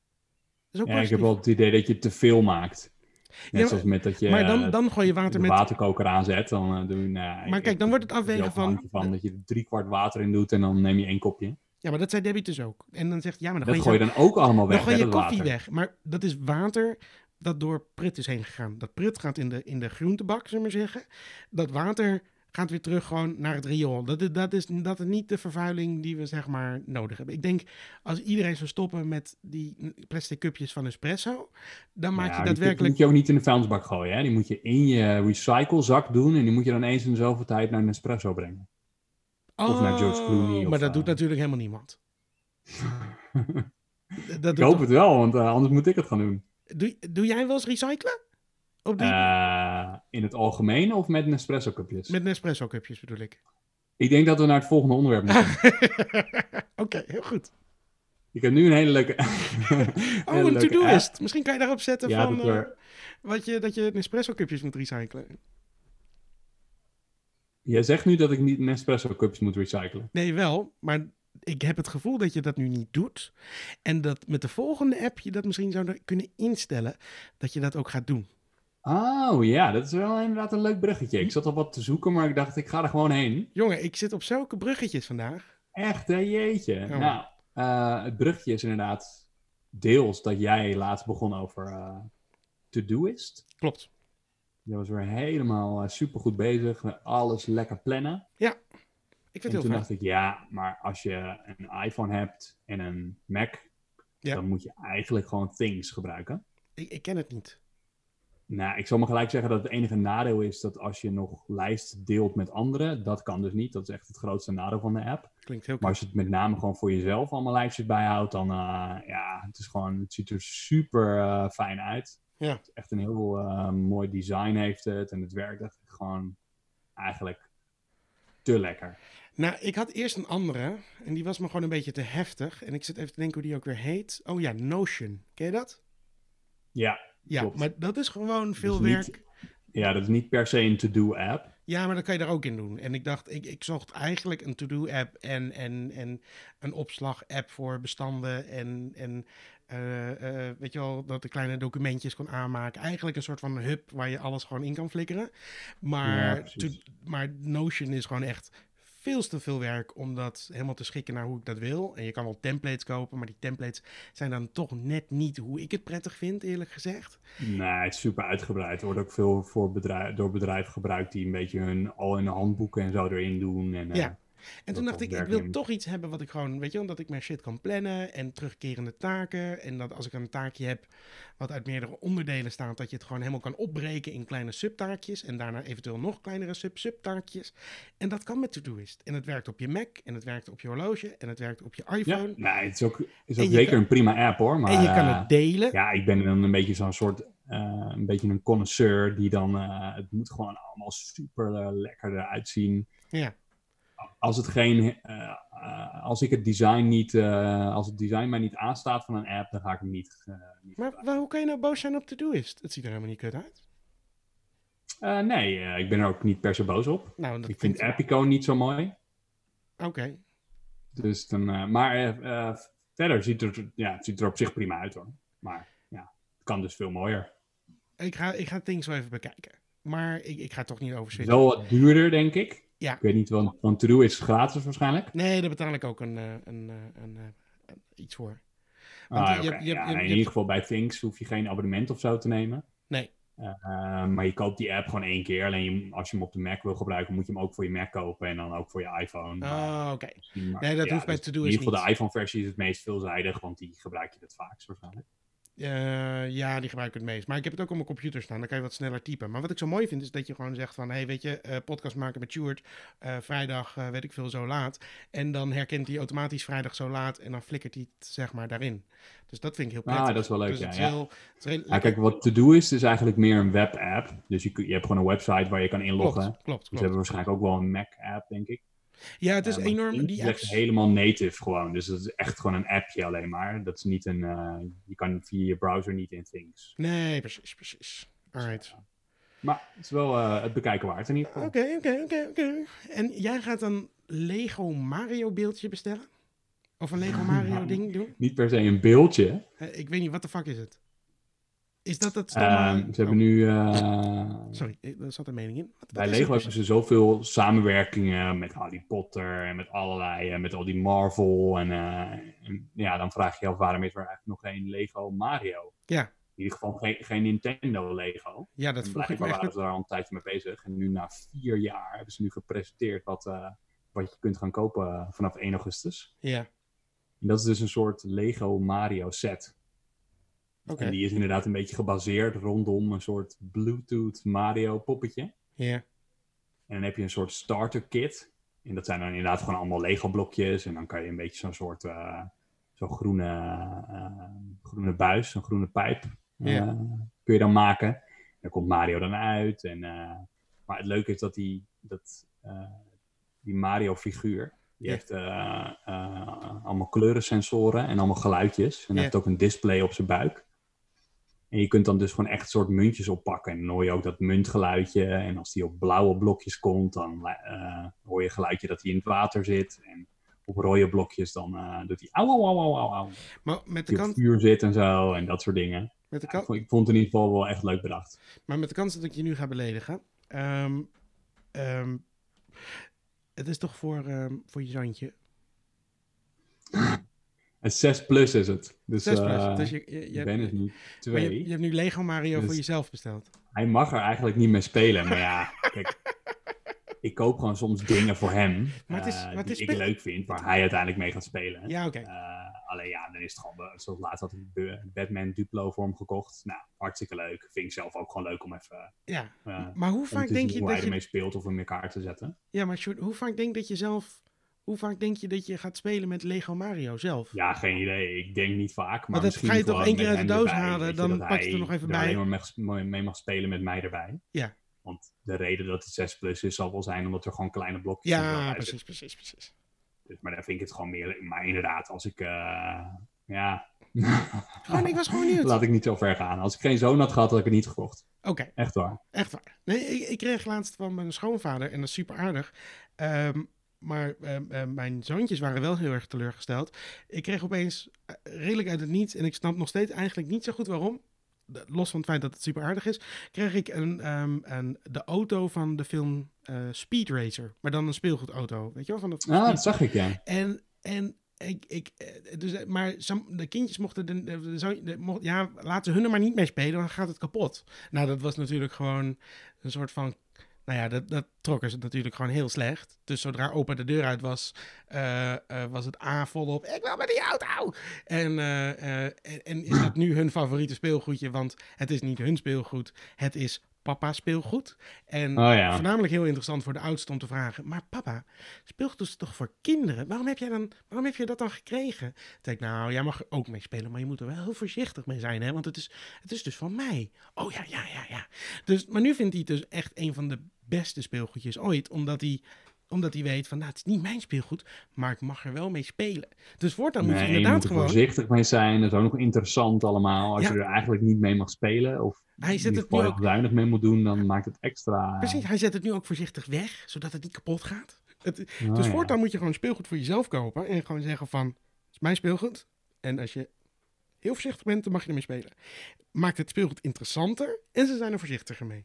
C: Dat is ook
A: ja, ik heb
C: positief.
A: wel het idee dat je te veel maakt. Net
C: Ja, maar-
A: zoals met dat je
C: Maar
A: eh,
C: dan, dan gooi je water
A: de
C: met...
A: waterkoker aanzet. Dan, eh, doe je, nou,
C: Maar
A: ik-
C: kijk, dan wordt het
A: ik heb er
C: afwegen
A: zelf een
C: van-
A: handje van dat je er drie kwart water in doet en dan neem je één kopje.
C: Ja, maar dat zei Debbie dus ook. En dan zegt, ja, maar dan
A: Dat
C: gooi je
A: gooi je dan ook allemaal weg,
C: Dan gooi
A: hè,
C: je
A: dat
C: koffie
A: water.
C: weg. Maar dat is water dat door prut is heen gegaan. Dat prut gaat in de, in de groentebak, zullen we maar zeggen. Dat water gaat weer terug gewoon naar het riool. Dat, is- dat, is, dat is niet de vervuiling die we zeg maar nodig hebben. Ik denk, als iedereen zou stoppen met die plastic cupjes van espresso... dan maak
A: Ja, die
C: je
A: koffie
C: daadwerkelijk...
A: moet je ook niet in de vuilnisbak gooien. Hè? Die moet je in je recyclezak doen en die moet je dan eens in zoveel tijd naar een espresso brengen. of naar George Clooney
C: Oh,
A: of,
C: maar dat
A: eh,
C: doet natuurlijk helemaal niemand. Dat
A: ik
C: doet
A: hoop
C: toch-
A: het wel, want eh, anders moet ik het gaan doen.
C: Doe, doe jij wel eens recyclen? Op die,
A: Eh, in het algemeen of met Nespresso cupjes?
C: met Nespresso cupjes bedoel ik.
A: Ik denk dat we naar het volgende onderwerp moeten.
C: Oké, heel goed.
A: ik heb nu een hele leuke...
C: Oh, een to-do-list. Misschien kan je daarop zetten
A: Ja,
C: van,
A: dat er-
C: eh, wat je, dat je Nespresso-cupjes moet recyclen.
A: Jij zegt nu dat ik niet Nespresso cupjes moet recyclen.
C: Nee, wel, maar ik heb het gevoel dat je dat nu niet doet. En dat met de volgende app je dat misschien zou kunnen instellen, dat je dat ook gaat doen.
A: Oh ja, dat is wel inderdaad een leuk bruggetje. Ik zat al wat te zoeken, maar ik dacht ik ga er gewoon heen.
C: Jongen, ik zit op zulke bruggetjes vandaag.
A: Echt, hè, jeetje.
C: Ja.
A: Nou, eh, het bruggetje is inderdaad deels dat jij laatst begon over eh to-doist.
C: Klopt.
A: Je was weer helemaal super supergoed bezig met alles lekker plannen.
C: Ik
A: En toen
C: vind het heel fijn.
A: dacht ik, ja, maar als je een iPhone hebt en een Mac,
C: Ja.
A: dan moet je eigenlijk gewoon Things gebruiken.
C: Ik, ik ken het niet.
A: Nou, ik zal maar gelijk zeggen dat het enige nadeel is dat als je nog lijsten deelt met anderen, dat kan dus niet. Dat is echt het grootste nadeel van de app.
C: Klinkt heel
A: Maar
C: cool.
A: als je het met name gewoon voor jezelf allemaal lijstjes bijhoudt, dan eh, ja, het is gewoon, het ziet er super eh, fijn uit.
C: Ja.
A: Het is echt een heel eh, mooi design heeft het en het werkt echt gewoon eigenlijk te lekker.
C: Nou, ik had eerst een andere en die was me gewoon een beetje te heftig. En ik zit even te denken hoe die ook weer heet. Oh ja, Notion. Ken je dat?
A: Ja,
C: Ja,
A: Klopt.
C: maar dat is gewoon veel
A: Dus
C: werk.
A: niet- ja, dat is niet per se een to-do app.
C: Ja, maar dat kan je daar ook in doen. En ik dacht, ik, ik zocht eigenlijk een to-do-app en, en, en een opslag-app voor bestanden. En, en eh, eh, weet je wel, dat ik kleine documentjes kon aanmaken. Eigenlijk een soort van hub waar je alles gewoon in kan flikkeren. Maar,
A: Ja, precies.
C: to- maar Notion is gewoon echt veel te veel werk om dat helemaal te schikken naar hoe ik dat wil. En je kan wel templates kopen, maar die templates zijn dan toch net niet hoe ik het prettig vind, eerlijk gezegd.
A: Nee, het is super uitgebreid. Er wordt ook veel voor bedrijf, door bedrijven gebruikt die een beetje hun al hun handboeken en zo erin doen. En, eh,
C: Ja. En
A: Dat
C: toen dacht
A: dat
C: ik, ik
A: werkt
C: wil
A: niet.
C: toch iets hebben wat ik gewoon, weet je wel, dat ik mijn shit kan plannen en terugkerende taken. En dat als ik een taakje heb wat uit meerdere onderdelen staat, dat je het gewoon helemaal kan opbreken in kleine subtaakjes. En daarna eventueel nog kleinere sub-subtaakjes. En dat kan met Todoist. En het werkt op je Mac, en het werkt op je horloge, en het werkt op je
A: ja.
C: iPhone.
A: Nee, het is ook, is
C: En
A: ook
C: je
A: zeker
C: kan-
A: een prima app hoor. Maar,
C: en je kan
A: eh,
C: het delen.
A: ja, ik ben dan een beetje zo'n soort, eh, een beetje een connoisseur die dan, eh, het moet gewoon allemaal super eh, lekker eruit zien.
C: Ja.
A: Als het geen, eh, eh, als ik het design niet, eh, als het design mij niet aanstaat van een app, dan ga ik hem niet. eh, niet
C: Maar waar- hoe kan je nou boos zijn op Todoist? Het ziet er helemaal niet kut uit.
A: eh, nee, eh, ik ben er ook niet per se boos op.
C: Nou, dat
A: ik vind Epico niet zo mooi.
C: Oké.
A: Dus dan, eh, maar eh, eh, verder ziet er, ja, het ziet er op zich prima uit hoor. Maar ja, het kan dus veel mooier.
C: Ik ga, ik ga het ding zo even bekijken. Maar ik, ik ga het toch niet over
A: Het is
C: switchen.
A: wel wat duurder, denk ik.
C: Ja.
A: Ik weet niet, want, want True is gratis waarschijnlijk.
C: Nee, daar betaal ik ook een, eh, een, eh, een, eh, een- iets voor. Want eh,
A: Ah,
C: je-
A: oké.
C: je- je-
A: Ja,
C: je-
A: in
C: je-
A: ieder geval bij Things hoef je geen abonnement of zo te nemen.
C: Nee.
A: Eh, maar je koopt die app gewoon één keer. Alleen je- als je hem op de Mac wil gebruiken, moet je hem ook voor je Mac kopen en dan ook voor je iPhone.
C: Oh, oké.
A: Maar
C: Nee, dat hoeft bij
A: dus
C: To Do
A: In
C: is
A: ieder geval
C: niet.
A: de iPhone-versie is het meest veelzijdig, want die gebruik je het vaakst waarschijnlijk.
C: Eh, ja, die gebruik ik het meest. Maar ik heb het ook op mijn computer staan. Dan kan je wat sneller typen. Maar wat ik zo mooi vind, is dat je gewoon zegt van... hey, weet je, eh, podcast maken met Stuart. vrijdag, eh, weet ik veel, zo laat. En dan herkent hij automatisch vrijdag zo laat. En dan flikkert hij het, zeg maar, daarin. Dus dat vind ik heel
A: Ah,
C: prettig.
A: dat is wel leuk,
C: Dus
A: ja,
C: het is
A: ja.
C: heel- het is heel
A: Ja, kijk, wat To Do is, is eigenlijk meer een web-app. Dus je, kun- je hebt gewoon een website waar je kan
C: klopt,
A: inloggen.
C: klopt, klopt.
A: Dus ze hebben waarschijnlijk ook wel een Mac-app, denk ik.
C: Ja, het is
A: Eh, maar
C: enorm...
A: Teams
C: Die
A: is echt
C: apps,
A: helemaal native gewoon. Dus dat is echt gewoon een appje alleen maar. Dat is niet een... eh, je kan via je browser niet in Things.
C: Nee, precies, precies. Alright.
A: Maar het is wel eh, het bekijken waard in ieder geval.
C: Oké, oké, oké, oké. En jij gaat een Lego Mario beeldje bestellen? Of een Lego Mario ding doen?
A: Niet per se een beeldje.
C: Eh, Ik weet niet, wat de fuck is het? Is dat dat
A: Eh,
C: stomme...
A: ze hebben
C: Oh,
A: nu... eh,
C: Sorry, eh, daar zat een mening in. Wat- wat
A: Bij
C: is
A: Lego
C: het?
A: hebben ze zoveel samenwerkingen met Harry Potter en met allerlei, en met al die Marvel. En, eh, en ja, dan vraag je je af waarom is er eigenlijk nog geen Lego Mario?
C: Ja.
A: In ieder geval geen, geen Nintendo Lego.
C: Ja, dat
A: en
C: vroeg ik me
A: blijkbaar
C: echt.
A: waren ze daar al een tijdje mee bezig. En nu na vier jaar hebben ze nu gepresenteerd wat, eh, wat je kunt gaan kopen eh, vanaf 1 augustus.
C: Ja,
A: En dat is dus een soort Lego Mario set.
C: oké.
A: En die is inderdaad een beetje gebaseerd rondom een soort Bluetooth Mario poppetje.
C: Ja,
A: En dan heb je een soort starter kit. En dat zijn dan inderdaad gewoon allemaal Lego blokjes. En dan kan je een beetje zo'n soort eh, zo'n groene, eh, groene buis, zo'n groene pijp. eh,
C: Ja.
A: kun je dan maken. En daar komt Mario dan uit. En, eh, maar het leuke is dat die, dat, eh, die Mario figuur. Die
C: Ja.
A: heeft eh, eh, allemaal kleurensensoren en allemaal geluidjes. En
C: Ja.
A: hij heeft ook een display op zijn buik. En je kunt dan dus gewoon echt soort muntjes oppakken. En dan hoor je ook dat muntgeluidje. En als die op blauwe blokjes komt, dan eh, hoor je geluidje dat hij in het water zit. En op rode blokjes, dan eh, doet hij auw, auw, auw, auw, auw.
C: maar met de,
A: Die op
C: kans,
A: vuur zit en zo, en dat soort dingen.
C: met, de
A: Ja, ik,
C: kan,
A: vond, ik vond het in ieder geval wel echt leuk bedacht.
C: maar met de kans dat ik je nu ga beledigen. ehm, ehm, het is toch voor, ehm, voor je zoontje?
A: En 6 plus is het. Dus,
C: 6 plus.
A: eh,
C: dus je, je, je,
A: ben het nu
C: maar je,
A: twee.
C: je hebt nu Lego Mario
A: Dus-
C: voor jezelf besteld.
A: Hij mag er eigenlijk niet mee spelen, maar ja, kijk. Ik koop gewoon soms dingen voor hem
C: Maar het is-
A: eh,
C: maar het
A: die
C: is
A: ik
C: spe-
A: leuk vind, waar hij uiteindelijk mee gaat spelen.
C: Ja, oké.
A: Eh, alleen ja, dan is het gewoon, eh, zoals laatst had ik de Batman Duplo voor hem gekocht. Nou, hartstikke leuk. Vind ik zelf ook gewoon leuk om even
C: Ja.
A: eh, om
C: Maar hoe vaak
A: te
C: denk
A: zien
C: je
A: hoe hij
C: dat je...
A: ermee speelt of hem in elkaar te zetten.
C: Ja, maar Sjoerd, hoe vaak denk dat je zelf... Hoe vaak denk je dat je gaat spelen met Lego Mario zelf?
A: Ja, geen idee. Ik denk niet vaak. Maar,
C: dat
A: misschien
C: ga je toch
A: gewoon
C: één keer
A: met
C: uit de
A: hem
C: doos
A: erbij,
C: halen,
A: weet je,
C: dan
A: dat
C: pak je het er
A: hij
C: nog even bij.
A: alleen maar mag- mee- mee mag spelen met mij erbij.
C: Ja.
A: Want de reden dat het 6 plus is, zal wel zijn omdat er gewoon kleine blokjes en zo
C: Ja,
A: bij zitten.
C: precies, precies, precies.
A: Dus, maar daar vind ik het gewoon meer. Maar inderdaad, als ik. eh, ja.
C: Gewoon, Oh, ik was gewoon nieuw.
A: Laat ik niet zo ver gaan. Als ik geen zoon had gehad, had ik het niet gekocht.
C: Oké,
A: Echt waar.
C: echt waar. Nee, ik, ik kreeg laatst van mijn schoonvader en dat is super aardig. Ehm, maar ehm, ehm, mijn zoontjes waren wel heel erg teleurgesteld. Ik kreeg opeens eh, redelijk uit het niets, en ik snap nog steeds eigenlijk niet zo goed waarom. de- Los van het feit dat het super aardig is, kreeg ik een, ehm, een, de auto van de film eh, Speed Racer. Maar dan een speelgoedauto. Weet je wel? Van de,
A: Ah,
C: Speed-
A: dat zag ik ja.
C: En, en ik, ik, eh, dus, eh, maar ze- de kindjes mochten, de, de- de zoon- de- mocht- ja, laten hun er maar niet mee spelen, dan gaat het kapot. Nou, dat was natuurlijk gewoon een soort van, nou ja, dat, dat trokken ze natuurlijk gewoon heel slecht. Dus zodra opa de deur uit was, eh, eh, was het A volop, ik wil met die auto! En, eh, eh, en, en is dat nu hun favoriete speelgoedje, want het is niet hun speelgoed, het is papa's speelgoed. En
A: Oh ja.
C: Voornamelijk heel interessant voor de oudste om te vragen. Maar papa, speelgoed is toch voor kinderen? Waarom heb jij, dan, waarom heb jij dat dan gekregen? Toen zei ik, nou, jij mag er ook mee spelen, maar je moet er wel heel voorzichtig mee zijn, hè? Want het is, het is dus van mij. Oh ja, ja, ja, ja. Dus, maar nu vindt hij het dus echt een van de beste speelgoedjes ooit, omdat hij omdat hij weet van, nou, het is niet mijn speelgoed, maar ik mag er wel mee spelen. Dus voortaan moet je
A: Nee, je
C: inderdaad
A: moet er
C: gewoon...
A: voorzichtig mee zijn. Dat is ook nog interessant allemaal. Als
C: Ja.
A: je er eigenlijk niet mee mag spelen. Of
C: Hij zet
A: in ieder
C: het nu
A: geval
C: ook-
A: heel weinig mee moet doen. Dan maakt het extra.
C: Precies, hij zet het nu ook voorzichtig weg, zodat het niet kapot gaat. Het,
A: Ah,
C: dus
A: ja.
C: voortaan moet je gewoon speelgoed voor jezelf kopen en gewoon zeggen van, het is mijn speelgoed. En als je heel voorzichtig bent, dan mag je ermee spelen. Maakt het speelgoed interessanter en ze zijn er voorzichtiger mee.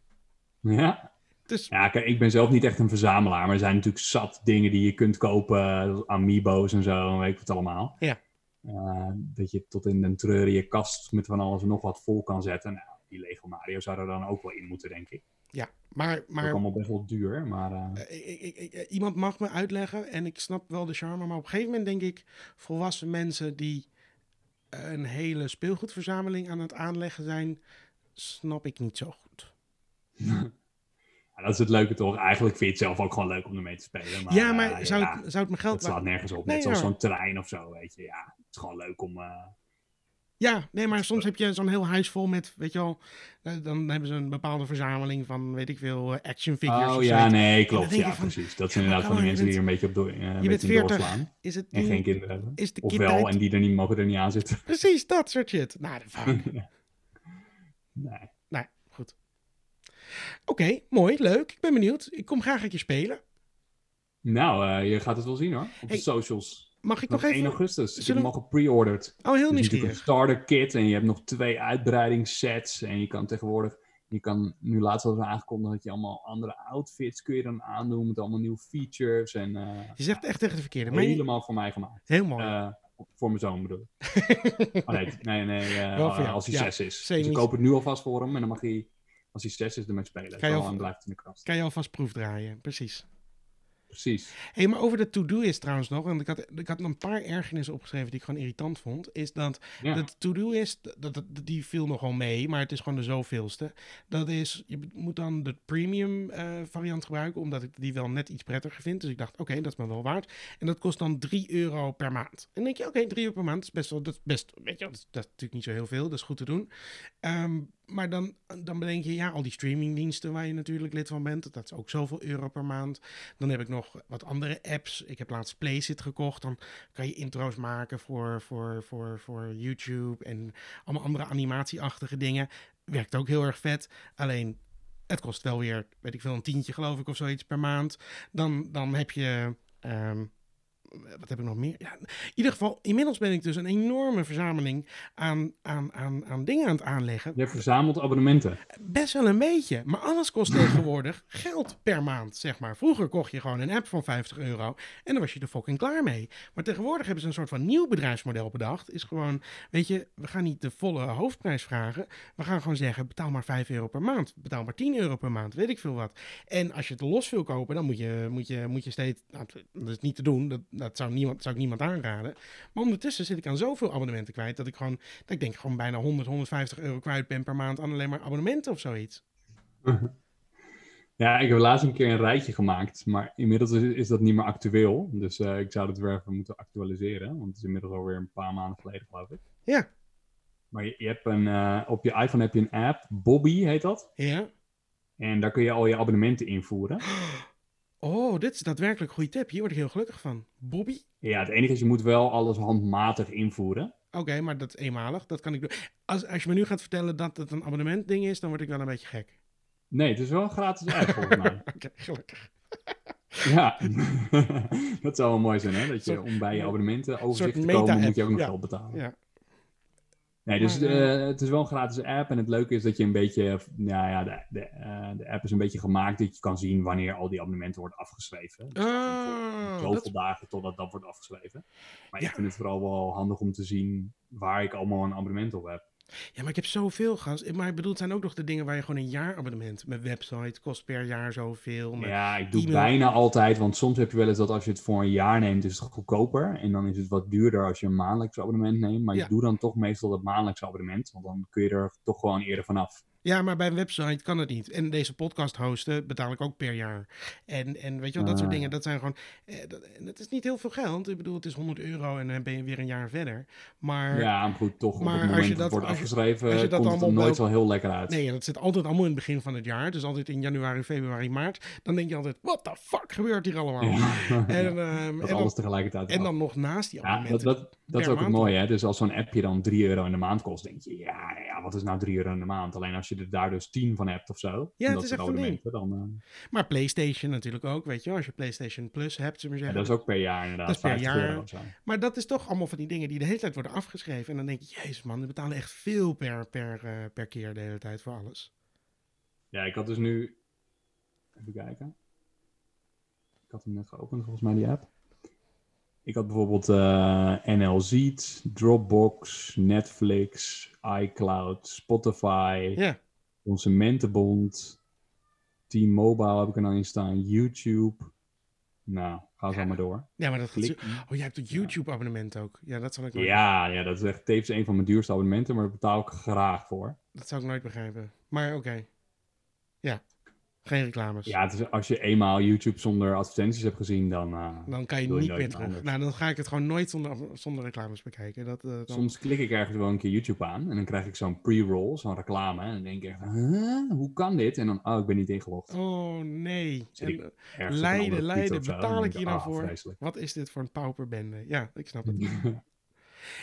A: Ja.
C: Dus
A: ja, kijk, ik ben zelf niet echt een verzamelaar, maar er zijn natuurlijk zat dingen die je kunt kopen, zoals amiibo's en zo, en weet ik wat allemaal.
C: Ja.
A: Eh, dat je tot in een treur je kast met van alles en nog wat vol kan zetten. Nou, die Lego Mario zou er dan ook wel in moeten, denk ik.
C: ja, maar,
A: Ook
C: maar
A: allemaal best wel duur, maar... eh,
C: eh, ik- ik- ik- eh, iemand mag me uitleggen en ik snap wel de charme, maar op een gegeven moment denk ik, volwassen mensen die een hele speelgoedverzameling aan het aanleggen zijn, snap ik niet zo goed.
A: Ja, dat is het leuke toch? Eigenlijk vind je het zelf ook gewoon leuk om ermee te spelen. Maar,
C: ja, maar
A: eh,
C: zou,
A: ja,
C: Het, zou het mijn geld
A: dat slaat nergens op.
C: Nee,
A: Net zoals
C: hoor.
A: zo'n terrein of zo, weet je. Ja, het is gewoon leuk om... eh,
C: Ja, nee, maar soms heb je zo'n heel huis vol met, weet je wel, eh, dan hebben ze een bepaalde verzameling van, weet ik veel, eh, action figures.
A: Oh
C: of
A: ja,
C: zoiets.
A: nee,
C: En
A: klopt.
C: dan denk
A: Ja,
C: je van,
A: precies. Dat
C: ja,
A: zijn inderdaad
C: maar
A: van die mensen
C: come on,
A: die er een beetje op door, eh, een
C: Je bent
A: beetje in
C: 40,
A: doorslaan.
C: is het
A: En
C: niet-
A: geen kinderen hebben.
C: Is de
A: Of
C: kindtijd...
A: wel, en die er niet mogen er niet aan zitten.
C: Precies, dat soort shit. Nou, de fuck.
A: nee.
C: nou, goed. Oké, mooi, leuk. Ik ben benieuwd. Ik kom graag een keer spelen.
A: Nou, eh, je gaat het wel zien hoor. Op
C: Hey,
A: de socials.
C: Mag ik
A: Nog
C: nog
A: 1
C: even...
A: augustus. Ik heb
C: zullen
A: hem
C: we-
A: al gepre-ordered.
C: Oh, heel
A: Het is natuurlijk een
C: nieuwsgierig.
A: starter kit en je hebt nog twee uitbreidingssets. En je kan tegenwoordig, je kan nu laatst al aangekondigd dat je allemaal andere outfits kun je dan aandoen met allemaal nieuwe features. En eh,
C: Je zegt echt tegen de verkeerde. Maar je-
A: Oh,
C: Oh.
A: helemaal voor mij gemaakt.
C: heel mooi.
A: Eh, voor mijn zoon bedoel ik. Oh, nee, nee, nee eh,
C: Wel voor jou,
A: als hij
C: ja.
A: zes is.
C: Semi-
A: Dus ik koop het nu alvast voor hem en dan mag hij, als hij zes is, ermee spelen.
C: Kan je
A: Zo
C: al-
A: lang blijft het in de kast.
C: Kan je alvast proefdraaien, precies.
A: Precies.
C: Hé, hey, maar over de to-do is trouwens nog, want ik had, ik had een paar ergernissen opgeschreven die ik gewoon irritant vond, is dat
A: Ja.
C: Dat to-do is, dat, dat, die viel nog wel mee, maar het is gewoon de zoveelste. Dat is, je moet dan de premium eh, variant gebruiken, omdat ik die wel net iets prettiger vind. Dus ik dacht, oké, dat is me wel waard. En dat kost dan 3 euro per maand. En dan denk je, oké, 3 euro per maand is best wel, dat is best, weet je, wel, dat is, dat is natuurlijk niet zo heel veel, dat is goed te doen. Ehm, maar dan, dan bedenk je, ja, al die streamingdiensten waar je natuurlijk lid van bent, dat is ook zoveel euro per maand. Dan heb ik nog wat andere apps. Ik heb laatst Playsit gekocht, dan kan je intro's maken voor, voor, voor, voor YouTube en allemaal andere animatieachtige dingen. Werkt ook heel erg vet. Alleen het kost wel weer, weet ik veel, een tientje geloof ik of zoiets per maand. Dan, dan heb je. ehm, wat heb ik nog meer? Ja, in ieder geval, inmiddels ben ik dus een enorme verzameling aan, aan, aan, aan dingen aan het aanleggen.
A: Je verzamelt abonnementen.
C: Best wel een beetje. Maar alles kost tegenwoordig geld per maand, zeg maar. Vroeger kocht je gewoon een app van 50 euro en dan was je er fucking klaar mee. Maar tegenwoordig hebben ze een soort van nieuw bedrijfsmodel bedacht. Is gewoon, weet je, we gaan niet de volle hoofdprijs vragen. We gaan gewoon zeggen, betaal maar 5 euro per maand. Betaal maar 10 euro per maand, weet ik veel wat. En als je het los wil kopen, dan moet je, moet je, moet je steeds... Nou, dat is niet te doen, dat, dat zou, niemand, zou ik niemand aanraden. Maar ondertussen zit ik aan zoveel abonnementen kwijt... dat ik gewoon dat ik denk gewoon bijna 100, 150 euro kwijt ben per maand aan alleen maar abonnementen of zoiets.
A: Ja, ik heb laatst een keer een rijtje gemaakt, maar inmiddels is, is dat niet meer actueel. Dus eh, ik zou dat weer even moeten actualiseren, want het is inmiddels alweer een paar maanden geleden, geloof ik.
C: Ja.
A: Maar je, je hebt een, eh, op je iPhone heb je een app, Bobby heet dat.
C: Ja.
A: En daar kun je al je abonnementen invoeren.
C: Oh, dit is daadwerkelijk een goede tip. Hier word ik heel gelukkig van. Bobby?
A: Ja, het enige is, je moet wel alles handmatig invoeren.
C: Oké, maar dat is eenmalig. Dat kan ik doen. Als, als je me nu gaat vertellen dat het een abonnementding is, dan word ik wel een beetje gek.
A: Nee, het is wel een gratis app volgens mij.
C: Oké, gelukkig.
A: Ja, dat zou wel mooi zijn, hè? Dat je
C: Soort-
A: om bij je abonnementen
C: soort
A: overzicht te
C: meta-app,
A: komen, moet je ook nog
C: ja.
A: geld betalen.
C: Ja.
A: Nee, dus
C: Maar,
A: eh, het is wel een gratis app. En het leuke is dat je een beetje. Nou ja, de, de, eh, de app is een beetje gemaakt dat je kan zien wanneer al die abonnementen worden afgeschreven. Dus
C: Oh,
A: zoveel
C: dat-
A: dagen totdat dat wordt afgeschreven. Maar
C: Ja.
A: ik vind het vooral wel handig om te zien waar ik allemaal een abonnement op heb.
C: Ja, maar ik heb zoveel gast. Maar ik bedoel, het zijn ook nog de dingen waar je gewoon een jaarabonnement. Mijn website kost per jaar zoveel. Mijn...
A: Ja, ik doe
C: e-mail.
A: bijna altijd, want soms heb je wel eens dat als je het voor een jaar neemt, is het goedkoper. En dan is het wat duurder als je een maandelijks abonnement neemt. Maar
C: Ja.
A: ik doe dan toch meestal dat maandelijks abonnement, want dan kun je er toch gewoon eerder vanaf.
C: Ja, maar bij een website kan het niet. En deze podcast hosten betaal ik ook per jaar. En, en weet je wel, dat soort
A: Ah.
C: dingen, dat zijn gewoon... Eh, dat, en het is niet heel veel geld. Ik bedoel, het is 100 euro en dan ben je weer een jaar verder. Maar
A: Ja, maar goed, toch
C: Maar
A: op
C: als
A: het
C: je
A: moment dat
C: dat-
A: het wordt
C: als je-
A: afgeschreven,
C: als je dat
A: komt het er
C: allemaal
A: nooit
C: wel-
A: zo heel lekker uit.
C: nee, dat zit altijd allemaal in het begin van het jaar. Dus altijd in januari, februari, maart. Dan denk je altijd, what the fuck gebeurt hier allemaal?
A: Ja.
C: En, ehm,
A: dat
C: en,
A: alles
C: dan,
A: tegelijkertijd.
C: en
A: af.
C: dan nog naast die
A: ja, dat,
C: abonnementen.
A: dat, dat is
C: per
A: ook het
C: maand.
A: mooie, hè? Dus als zo'n appje dan 3 nou euro in de maand kost, denk je, ja, ja, wat is nou 3 euro in de maand? Alleen als je je er daar dus tien van hebt of zo.
C: Ja,
A: Omdat
C: het is
A: ze
C: echt een ding.
A: abonnementen Dan, eh,
C: Maar PlayStation natuurlijk ook, weet je wel. Als je PlayStation Plus hebt, zullen we
A: ja,
C: zeggen.
A: dat is ook per jaar inderdaad.
C: Dat is per
A: 50
C: jaar.
A: euro of zo.
C: Maar dat is toch allemaal van die dingen die de hele tijd worden afgeschreven. En dan denk je, jezus man, we betalen echt veel per, per, eh, per keer de hele tijd voor alles.
A: Ja, ik had dus nu. Even kijken. Ik had hem net geopend, volgens mij, die app. Ik had bijvoorbeeld eh NLZ, Dropbox, Netflix, iCloud, Spotify,
C: Ja,
A: Consumentenbond, T-Mobile heb ik er dan in staan, YouTube. Nou, ga zo
C: Ja.
A: maar door.
C: ja maar dat gaat zo-
A: Klik.
C: Oh, jij hebt een YouTube-abonnement ook. Ja, dat zal ik nooit,
A: Ja, ja, dat is echt tevens een van mijn duurste abonnementen, maar daar betaal ik graag voor.
C: dat zal ik nooit begrijpen. Maar oké. Ja, geen reclames.
A: Ja, het is, als je eenmaal YouTube zonder advertenties hebt gezien, dan... eh,
C: Dan kan je
A: Doe je nooit
C: niet meer
A: meer
C: terug.
A: anders.
C: Nou, dan ga ik het gewoon nooit zonder, zonder reclames bekijken. Dat, eh, dan-
A: Soms klik ik ergens wel een keer YouTube aan en dan krijg ik zo'n pre-roll, zo'n reclame. En dan denk ik echt, huh? hoe kan dit? En dan, oh, ik ben niet ingelogd.
C: Oh nee.
A: Zit ik
C: En, eh,
A: Ergens op een
C: Leiden,
A: andere tweet
C: Leiden,
A: of zo.
C: betaal
A: Dan
C: ik
A: denk
C: hier nou
A: ah,
C: voor?
A: vreselijk.
C: wat is dit voor een pauperbende? Ja, ik snap het.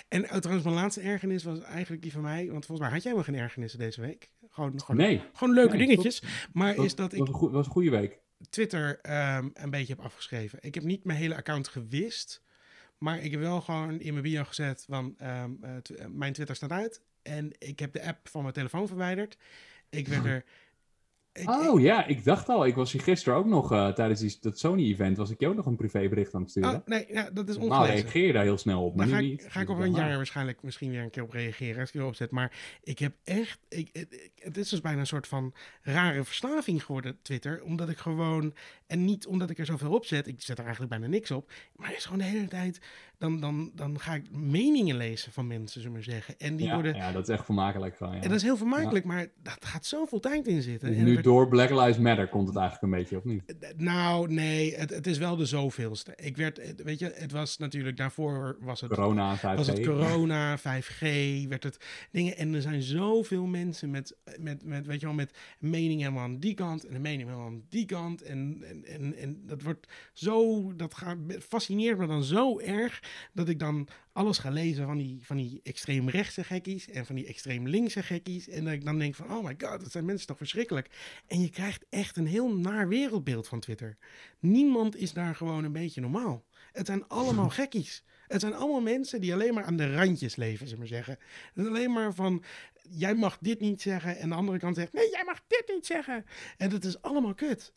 C: En oh, trouwens, mijn laatste ergernis was eigenlijk die van mij. Want volgens mij had jij wel geen ergernissen deze week. Gewoon, gewoon,
A: Nee,
C: gewoon leuke
A: Nee,
C: dingetjes. Maar
A: dat
C: is dat ik
A: was, een goe- was een goede week.
C: Twitter ehm, een beetje heb afgeschreven. Ik heb niet mijn hele account gewist. Maar ik heb wel gewoon in mijn bio gezet van ehm, eh, tw- eh, mijn Twitter staat uit. En ik heb de app van mijn telefoon verwijderd. Ik werd er... Ik,
A: oh ja, ik dacht al, ik was hier gisteren ook nog eh, tijdens die, dat Sony-event, was ik jou nog een privébericht aan het
C: ik-
A: sturen.
C: oh, nee, ja, dat is
A: nou,
C: ongelezen.
A: reageer je daar heel snel op, maar
C: Daar
A: nu
C: ga ik,
A: niet.
C: ga ik
A: Dus
C: over een
A: dan, ah,
C: jaar waarschijnlijk misschien weer een keer op reageren als ik erop zet. Maar ik heb echt. Ik, het- ik- het is dus bijna een soort van rare verslaving geworden, Twitter. Omdat ik gewoon. En niet omdat ik er zoveel op zet. Ik zet er eigenlijk bijna niks op. Maar het is gewoon de hele tijd. Dan, dan, dan ga ik meningen lezen van mensen, zullen we maar zeggen. En die
A: ja,
C: worden.
A: ja, dat is echt vermakelijk gewoon, ja.
C: En dat is heel vermakelijk, maar dat gaat zoveel tijd in zitten.
A: Dus
C: En
A: nu
C: er-
A: door Black Lives Matter komt het eigenlijk een beetje, of niet?
C: nou, nee, het, het is wel de zoveelste. Ik werd, weet je, het was natuurlijk daarvoor was het
A: Corona, 5G.
C: was het corona, 5G, werd het dingen. En er zijn zoveel mensen met, met, met weet je wel, met meningen helemaal aan die kant en een mening helemaal aan die kant. En, en, en, en dat wordt zo, dat gaat, fascineert me dan zo erg dat ik dan alles ga lezen van die, van die extreem rechtse gekkies en van die extreem linkse gekkies. En dat ik dan denk van, oh my god, dat zijn mensen toch verschrikkelijk. En je krijgt echt een heel naar wereldbeeld van Twitter. Niemand is daar gewoon een beetje normaal. Het zijn allemaal gekkies. Het zijn allemaal mensen die alleen maar aan de randjes leven, zullen we maar zeggen. Het is alleen maar van, jij mag dit niet zeggen. En de andere kant zegt, nee, jij mag dit niet zeggen. En dat is allemaal kut.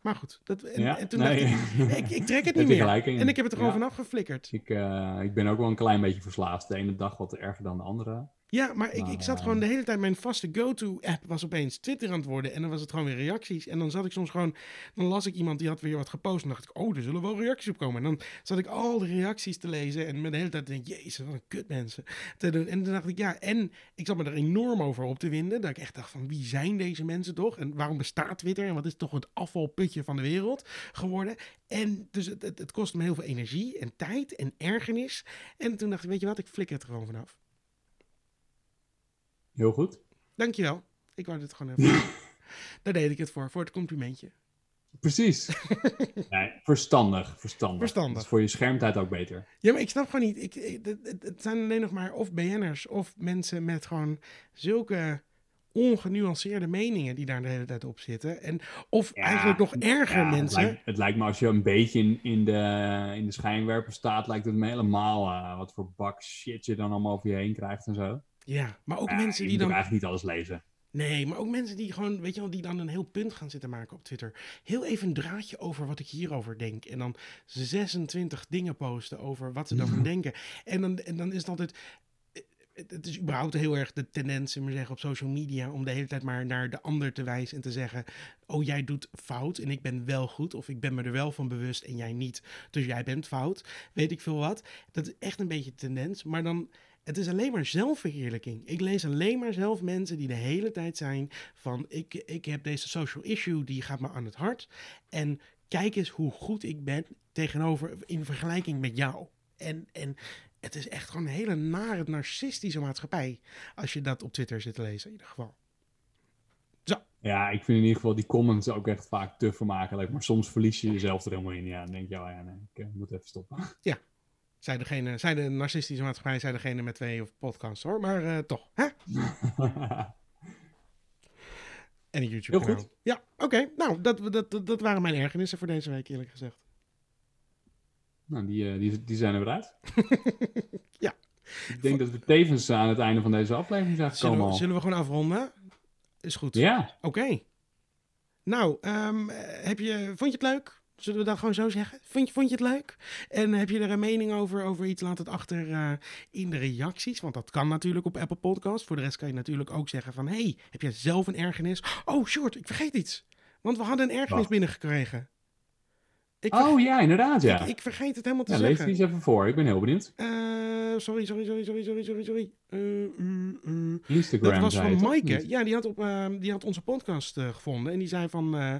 C: Maar goed, dat, en,
A: Ja,
C: en toen
A: nee.
C: dacht ik, ik, ik trek het
A: Heb
C: niet
A: je
C: meer.
A: gelijk in.
C: En ik heb het er gewoon
A: Ja.
C: vanaf geflikkerd.
A: Ik, eh, ik ben ook wel een klein beetje verslaafd. De ene dag wat erger dan de andere.
C: Ja, maar ik,
A: Maar,
C: ik zat
A: eh,
C: gewoon de hele tijd, mijn vaste go-to-app was opeens Twitter aan het worden. En dan was het gewoon weer reacties. En dan zat ik soms gewoon, dan las ik iemand die had weer wat gepost. En dacht ik, oh, er zullen wel reacties op komen. En dan zat ik al de reacties te lezen. En met de hele tijd denk ik, jezus, wat een kut mensen. Te doen. En toen dacht ik, ja, en ik zat me er enorm over op te winden. Dat ik echt dacht van, wie zijn deze mensen toch? En waarom bestaat Twitter? En wat is toch het afvalputje van de wereld geworden? En dus het, het, het kost me heel veel energie en tijd en ergernis. En toen dacht ik, weet je wat, ik flikker het er gewoon vanaf.
A: Heel goed.
C: Dankjewel. Ik wou dit gewoon even. Daar deed ik het voor, voor het complimentje.
A: Precies. nee, verstandig, verstandig.
C: Verstandig.
A: Dat is voor je schermtijd ook beter.
C: Ja, maar ik snap gewoon niet. Ik, ik- het, het- het zijn alleen nog maar of BN'ers of mensen met gewoon zulke ongenuanceerde meningen die daar de hele tijd op zitten. En, of
A: Ja,
C: eigenlijk nog erger
A: Ja, Het
C: mensen.
A: lijkt, het lijkt me als je een beetje in, in de, in de schijnwerper staat, lijkt het me helemaal eh, wat voor bak shit je dan allemaal over je heen krijgt en zo.
C: Ja, maar ook
A: Ja,
C: mensen
A: je
C: die
A: moet ook
C: dan.
A: eigenlijk niet alles lezen.
C: Nee, maar ook mensen die gewoon, weet je wel, die dan een heel punt gaan zitten maken op Twitter. Heel even een draadje over wat ik hierover denk. En dan 26 dingen posten over wat ze daarvan denken. En dan, en dan is het altijd. Het het is überhaupt heel erg de tendens, zullen we zeggen, op social media om de hele tijd maar naar de ander te wijzen en te zeggen: Oh, jij doet fout en ik ben wel goed. Of ik ben me er wel van bewust en jij niet. Dus jij bent fout. Weet ik veel wat. Dat is echt een beetje de tendens. Maar dan het is alleen maar zelfverheerlijking. Ik lees alleen maar zelf mensen die de hele tijd zijn van... Ik, ik heb deze social issue, die gaat me aan het hart. En kijk eens hoe goed ik ben tegenover, in vergelijking met jou. En, en het is echt gewoon een hele nare, narcistische maatschappij... als je dat op Twitter zit te lezen, in ieder geval.
A: Ja, ik vind in ieder geval die comments ook echt vaak te vermakelijk. Maar soms verlies je jezelf er helemaal in. Ja, dan denk je, oh ja, nee, ik eh, moet even stoppen.
C: Zij degene, zij de narcistische maatschappij, zij degene met twee of podcasts, hoor. Maar eh, toch, hè? En een YouTube
A: Heel
C: kanaal.
A: goed.
C: Ja, oké. Nou, dat, dat, dat, dat waren mijn ergernissen voor deze week, eerlijk gezegd.
A: Nou, die, eh, die, die zijn er weer uit.
C: Ja.
A: Ik denk dat we tevens aan het einde van deze aflevering zijn gekomen
C: Zullen
A: al.
C: we, zullen we gewoon afronden? Is goed.
A: Ja,
C: Oké. Nou, ehm, heb je, vond je het leuk? Zullen we dat gewoon zo zeggen? Vond je, vond je het leuk? En heb je er een mening over, over iets? Laat het achter eh, in de reacties. Want dat kan natuurlijk op Apple Podcast. Voor de rest kan je natuurlijk ook zeggen van... hey, heb jij zelf een ergernis? Oh, short, ik vergeet iets. Want we hadden een ergernis
A: Wat?
C: binnengekregen. Ik, verge-
A: oh ja, inderdaad ja.
C: ik, ik vergeet het helemaal te
A: ja lees
C: zeggen.
A: die eens even voor, ik ben heel benieuwd.
C: Eh, sorry, sorry, sorry, sorry, sorry, sorry, sorry. Eh, eh, eh.
A: Instagram
C: Dat was
A: zei
C: van
A: het, of
C: Maaike.
A: niet?
C: Ja, die had, op, ehm, die had onze podcast eh, gevonden. En die zei van... eh,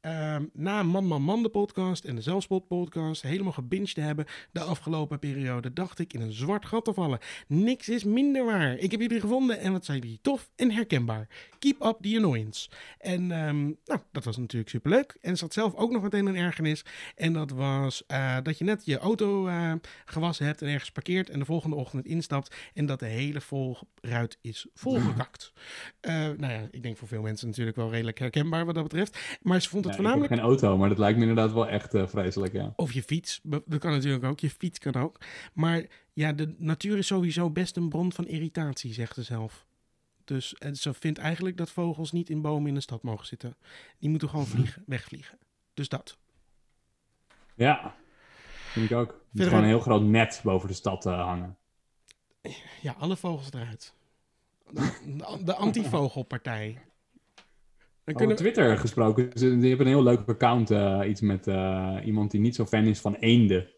C: ehm, na Man Man Man de podcast en de Zelfspot podcast... helemaal gebinged te hebben de afgelopen periode... dacht ik in een zwart gat te vallen. Niks is minder waar. Ik heb jullie gevonden en wat zijn jullie tof en herkenbaar. Keep up the annoyance. En ehm, nou, dat was natuurlijk superleuk. En ze had zelf ook nog meteen een ergernis. En dat was eh, dat je net je auto eh, gewassen hebt en ergens parkeert... en de volgende ochtend instapt en dat de hele volruit is volgekakt. Eh, nou ja, ik denk voor veel mensen natuurlijk wel redelijk herkenbaar wat dat betreft. Maar ze vond het
A: Ja, Ik
C: voornamelijk...
A: heb geen auto, maar dat lijkt me inderdaad wel echt eh, vreselijk, ja.
C: Of je fiets, be- dat kan natuurlijk ook. Je fiets kan ook. Maar ja, de natuur is sowieso best een bron van irritatie, zegt ze zelf. Dus en ze vindt eigenlijk dat vogels niet in bomen in de stad mogen zitten. Die moeten gewoon
A: Mhm.
C: vliegen, wegvliegen. Dus dat.
A: Ja, vind ik ook. Er moet
C: Verder-
A: gewoon een heel groot net boven de stad eh, hangen.
C: Ja, alle vogels eruit. De, de antivogelpartij.
A: Over
C: Dan kunnen we...
A: Twitter gesproken, ze- die hebben een heel leuk account, eh, iets met eh, iemand die niet zo fan is van eenden.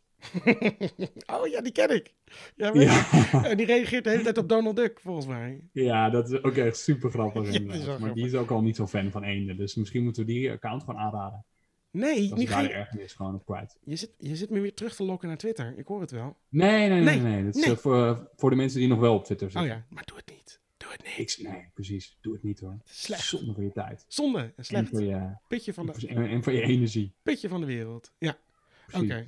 C: Oh ja, die ken ik. Ja, weet
A: Ja,
C: ik. En die reageert de hele tijd op Donald Duck, volgens mij.
A: ja dat is ook echt super grappig.
C: Ja, dat is wel
A: inderdaad. maar
C: grappig.
A: die is ook al niet zo fan van eenden, dus misschien moeten we die account gewoon aanraden.
C: Nee,
A: Dat is
C: niet
A: daar de
C: ge-
A: ergernis gewoon op kwijt.
C: je, zit, je zit me weer terug te lokken naar Twitter. Ik hoor het wel.
A: Nee, nee, nee,
C: Nee,
A: nee. Dat is
C: nee.
A: eh, voor, voor de mensen die nog wel op Twitter
C: Oh
A: zitten.
C: ja, maar doe het niet. Doe het
A: Ik,
C: niet.
A: nee, precies. Doe het niet hoor.
C: Slecht.
A: Zonde van je tijd.
C: Zonde en
A: En
C: slecht.
A: voor je,
C: Putje van de,
A: en, en voor je energie.
C: putje van de wereld. Ja, oké.
A: Precies.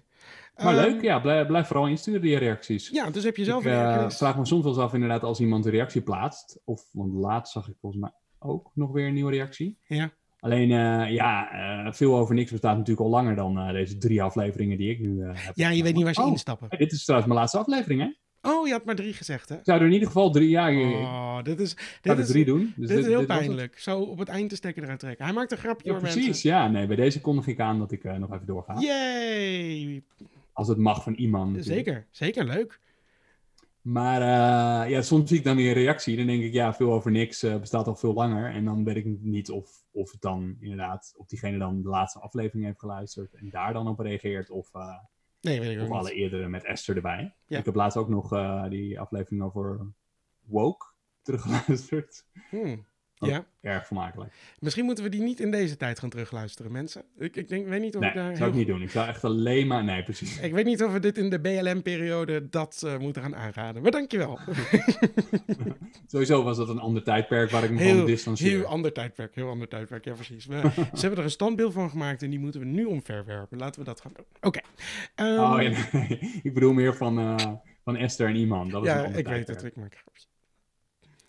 A: Maar
C: Ehm,
A: leuk, ja. Blijf, blijf vooral insturen die reacties.
C: Ja, dus heb je zelf
A: ik
C: een
A: eh,
C: ergernis.
A: vraag me soms wel eens af inderdaad als iemand een reactie plaatst. Of, want laatst zag ik volgens mij ook nog weer een nieuwe reactie.
C: Ja.
A: Alleen, eh, ja, eh, veel over niks bestaat natuurlijk al langer dan eh, deze drie afleveringen die ik nu eh, heb.
C: Ja, je weet niet waar ze
A: Oh.
C: instappen.
A: Dit is trouwens mijn laatste aflevering, hè? Ik
C: Oh, je had maar drie gezegd, hè?
A: zou er in ieder geval drie, ja, ik- ik
C: Oh, dit is,
A: zou
C: dit
A: er
C: is,
A: drie doen. Dus
C: dit is heel
A: was het.
C: pijnlijk. Zo op het eind de stekker eruit trekken. Hij maakt een grapje,
A: Ja,
C: hoor,
A: precies,
C: mensen.
A: ja. Nee, bij deze kondig ik aan dat ik eh, nog even doorga.
C: Yay!
A: Als het mag van iemand. natuurlijk.
C: Zeker, zeker leuk.
A: Maar eh, ja, soms zie ik dan weer een reactie. Dan denk ik, ja, veel over niks eh, bestaat al veel langer. En dan weet ik niet of, of het dan inderdaad, of diegene dan de laatste aflevering heeft geluisterd en daar dan op reageert. Of, eh,
C: Nee, weet ik
A: of
C: ook
A: alle
C: niet.
A: eerdere met Esther erbij.
C: Ja.
A: Ik heb laatst ook nog eh, die aflevering over Woke teruggeluisterd.
C: Hmm.
A: Oh.
C: Ja,
A: Erg vermakelijk.
C: misschien moeten we die niet in deze tijd gaan terugluisteren, mensen. Ik, ik denk, weet niet of
A: Nee,
C: ik
A: zou
C: daar...
A: ik
C: heel-
A: niet doen. Ik zou echt alleen maar... Nee, precies.
C: Ik weet niet of we dit in de BLM-periode dat eh, moeten gaan aanraden. Maar dankjewel.
A: Sowieso was dat een ander tijdperk waar ik me van
C: Heel,
A: distancieer. Oh,
C: heel ander tijdperk, heel ander tijdperk, ja precies. We, ze hebben er een standbeeld van gemaakt en die moeten we nu omverwerpen. Laten we dat gaan doen. Oké. Ehm,
A: Oh, ja, nee. ik bedoel meer van, eh, van Esther en iemand. Dat was
C: ja,
A: een ander
C: ik weet het,
A: tijdperk.
C: ik maak een grapje.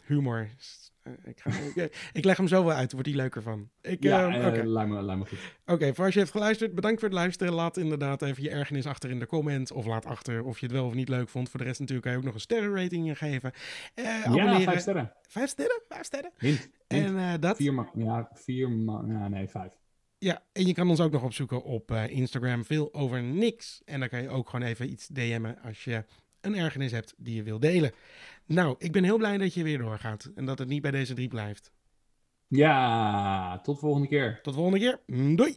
C: Humor. is- eh, Ik, ga, ik, ik leg hem zo wel uit, wordt die leuker van. Ik,
A: Ja,
C: ehm,
A: eh,
C: oké.
A: lijkt, me, lijkt me goed.
C: Oké, voor als je hebt geluisterd, bedankt voor het luisteren. Laat inderdaad even je ergernis achter in de comments. Of laat achter of je het wel of niet leuk vond. Voor de rest natuurlijk kan je ook nog een sterrenrating geven. Eh,
A: Ja,
C: abonneren.
A: vijf sterren.
C: Vijf sterren? Vijf sterren.
A: Hint.
C: En eh, dat.
A: Vier ma- Ja, vier ma- ja, nee, vijf.
C: Ja, en je kan ons ook nog opzoeken op eh, Instagram. Veel over niks. En dan kan je ook gewoon even iets DM'en als je een ergernis hebt die je wil delen. Nou, ik ben heel blij dat je weer doorgaat. En dat het niet bij deze drie blijft.
A: Ja, tot volgende keer.
C: Tot de volgende keer. Doei!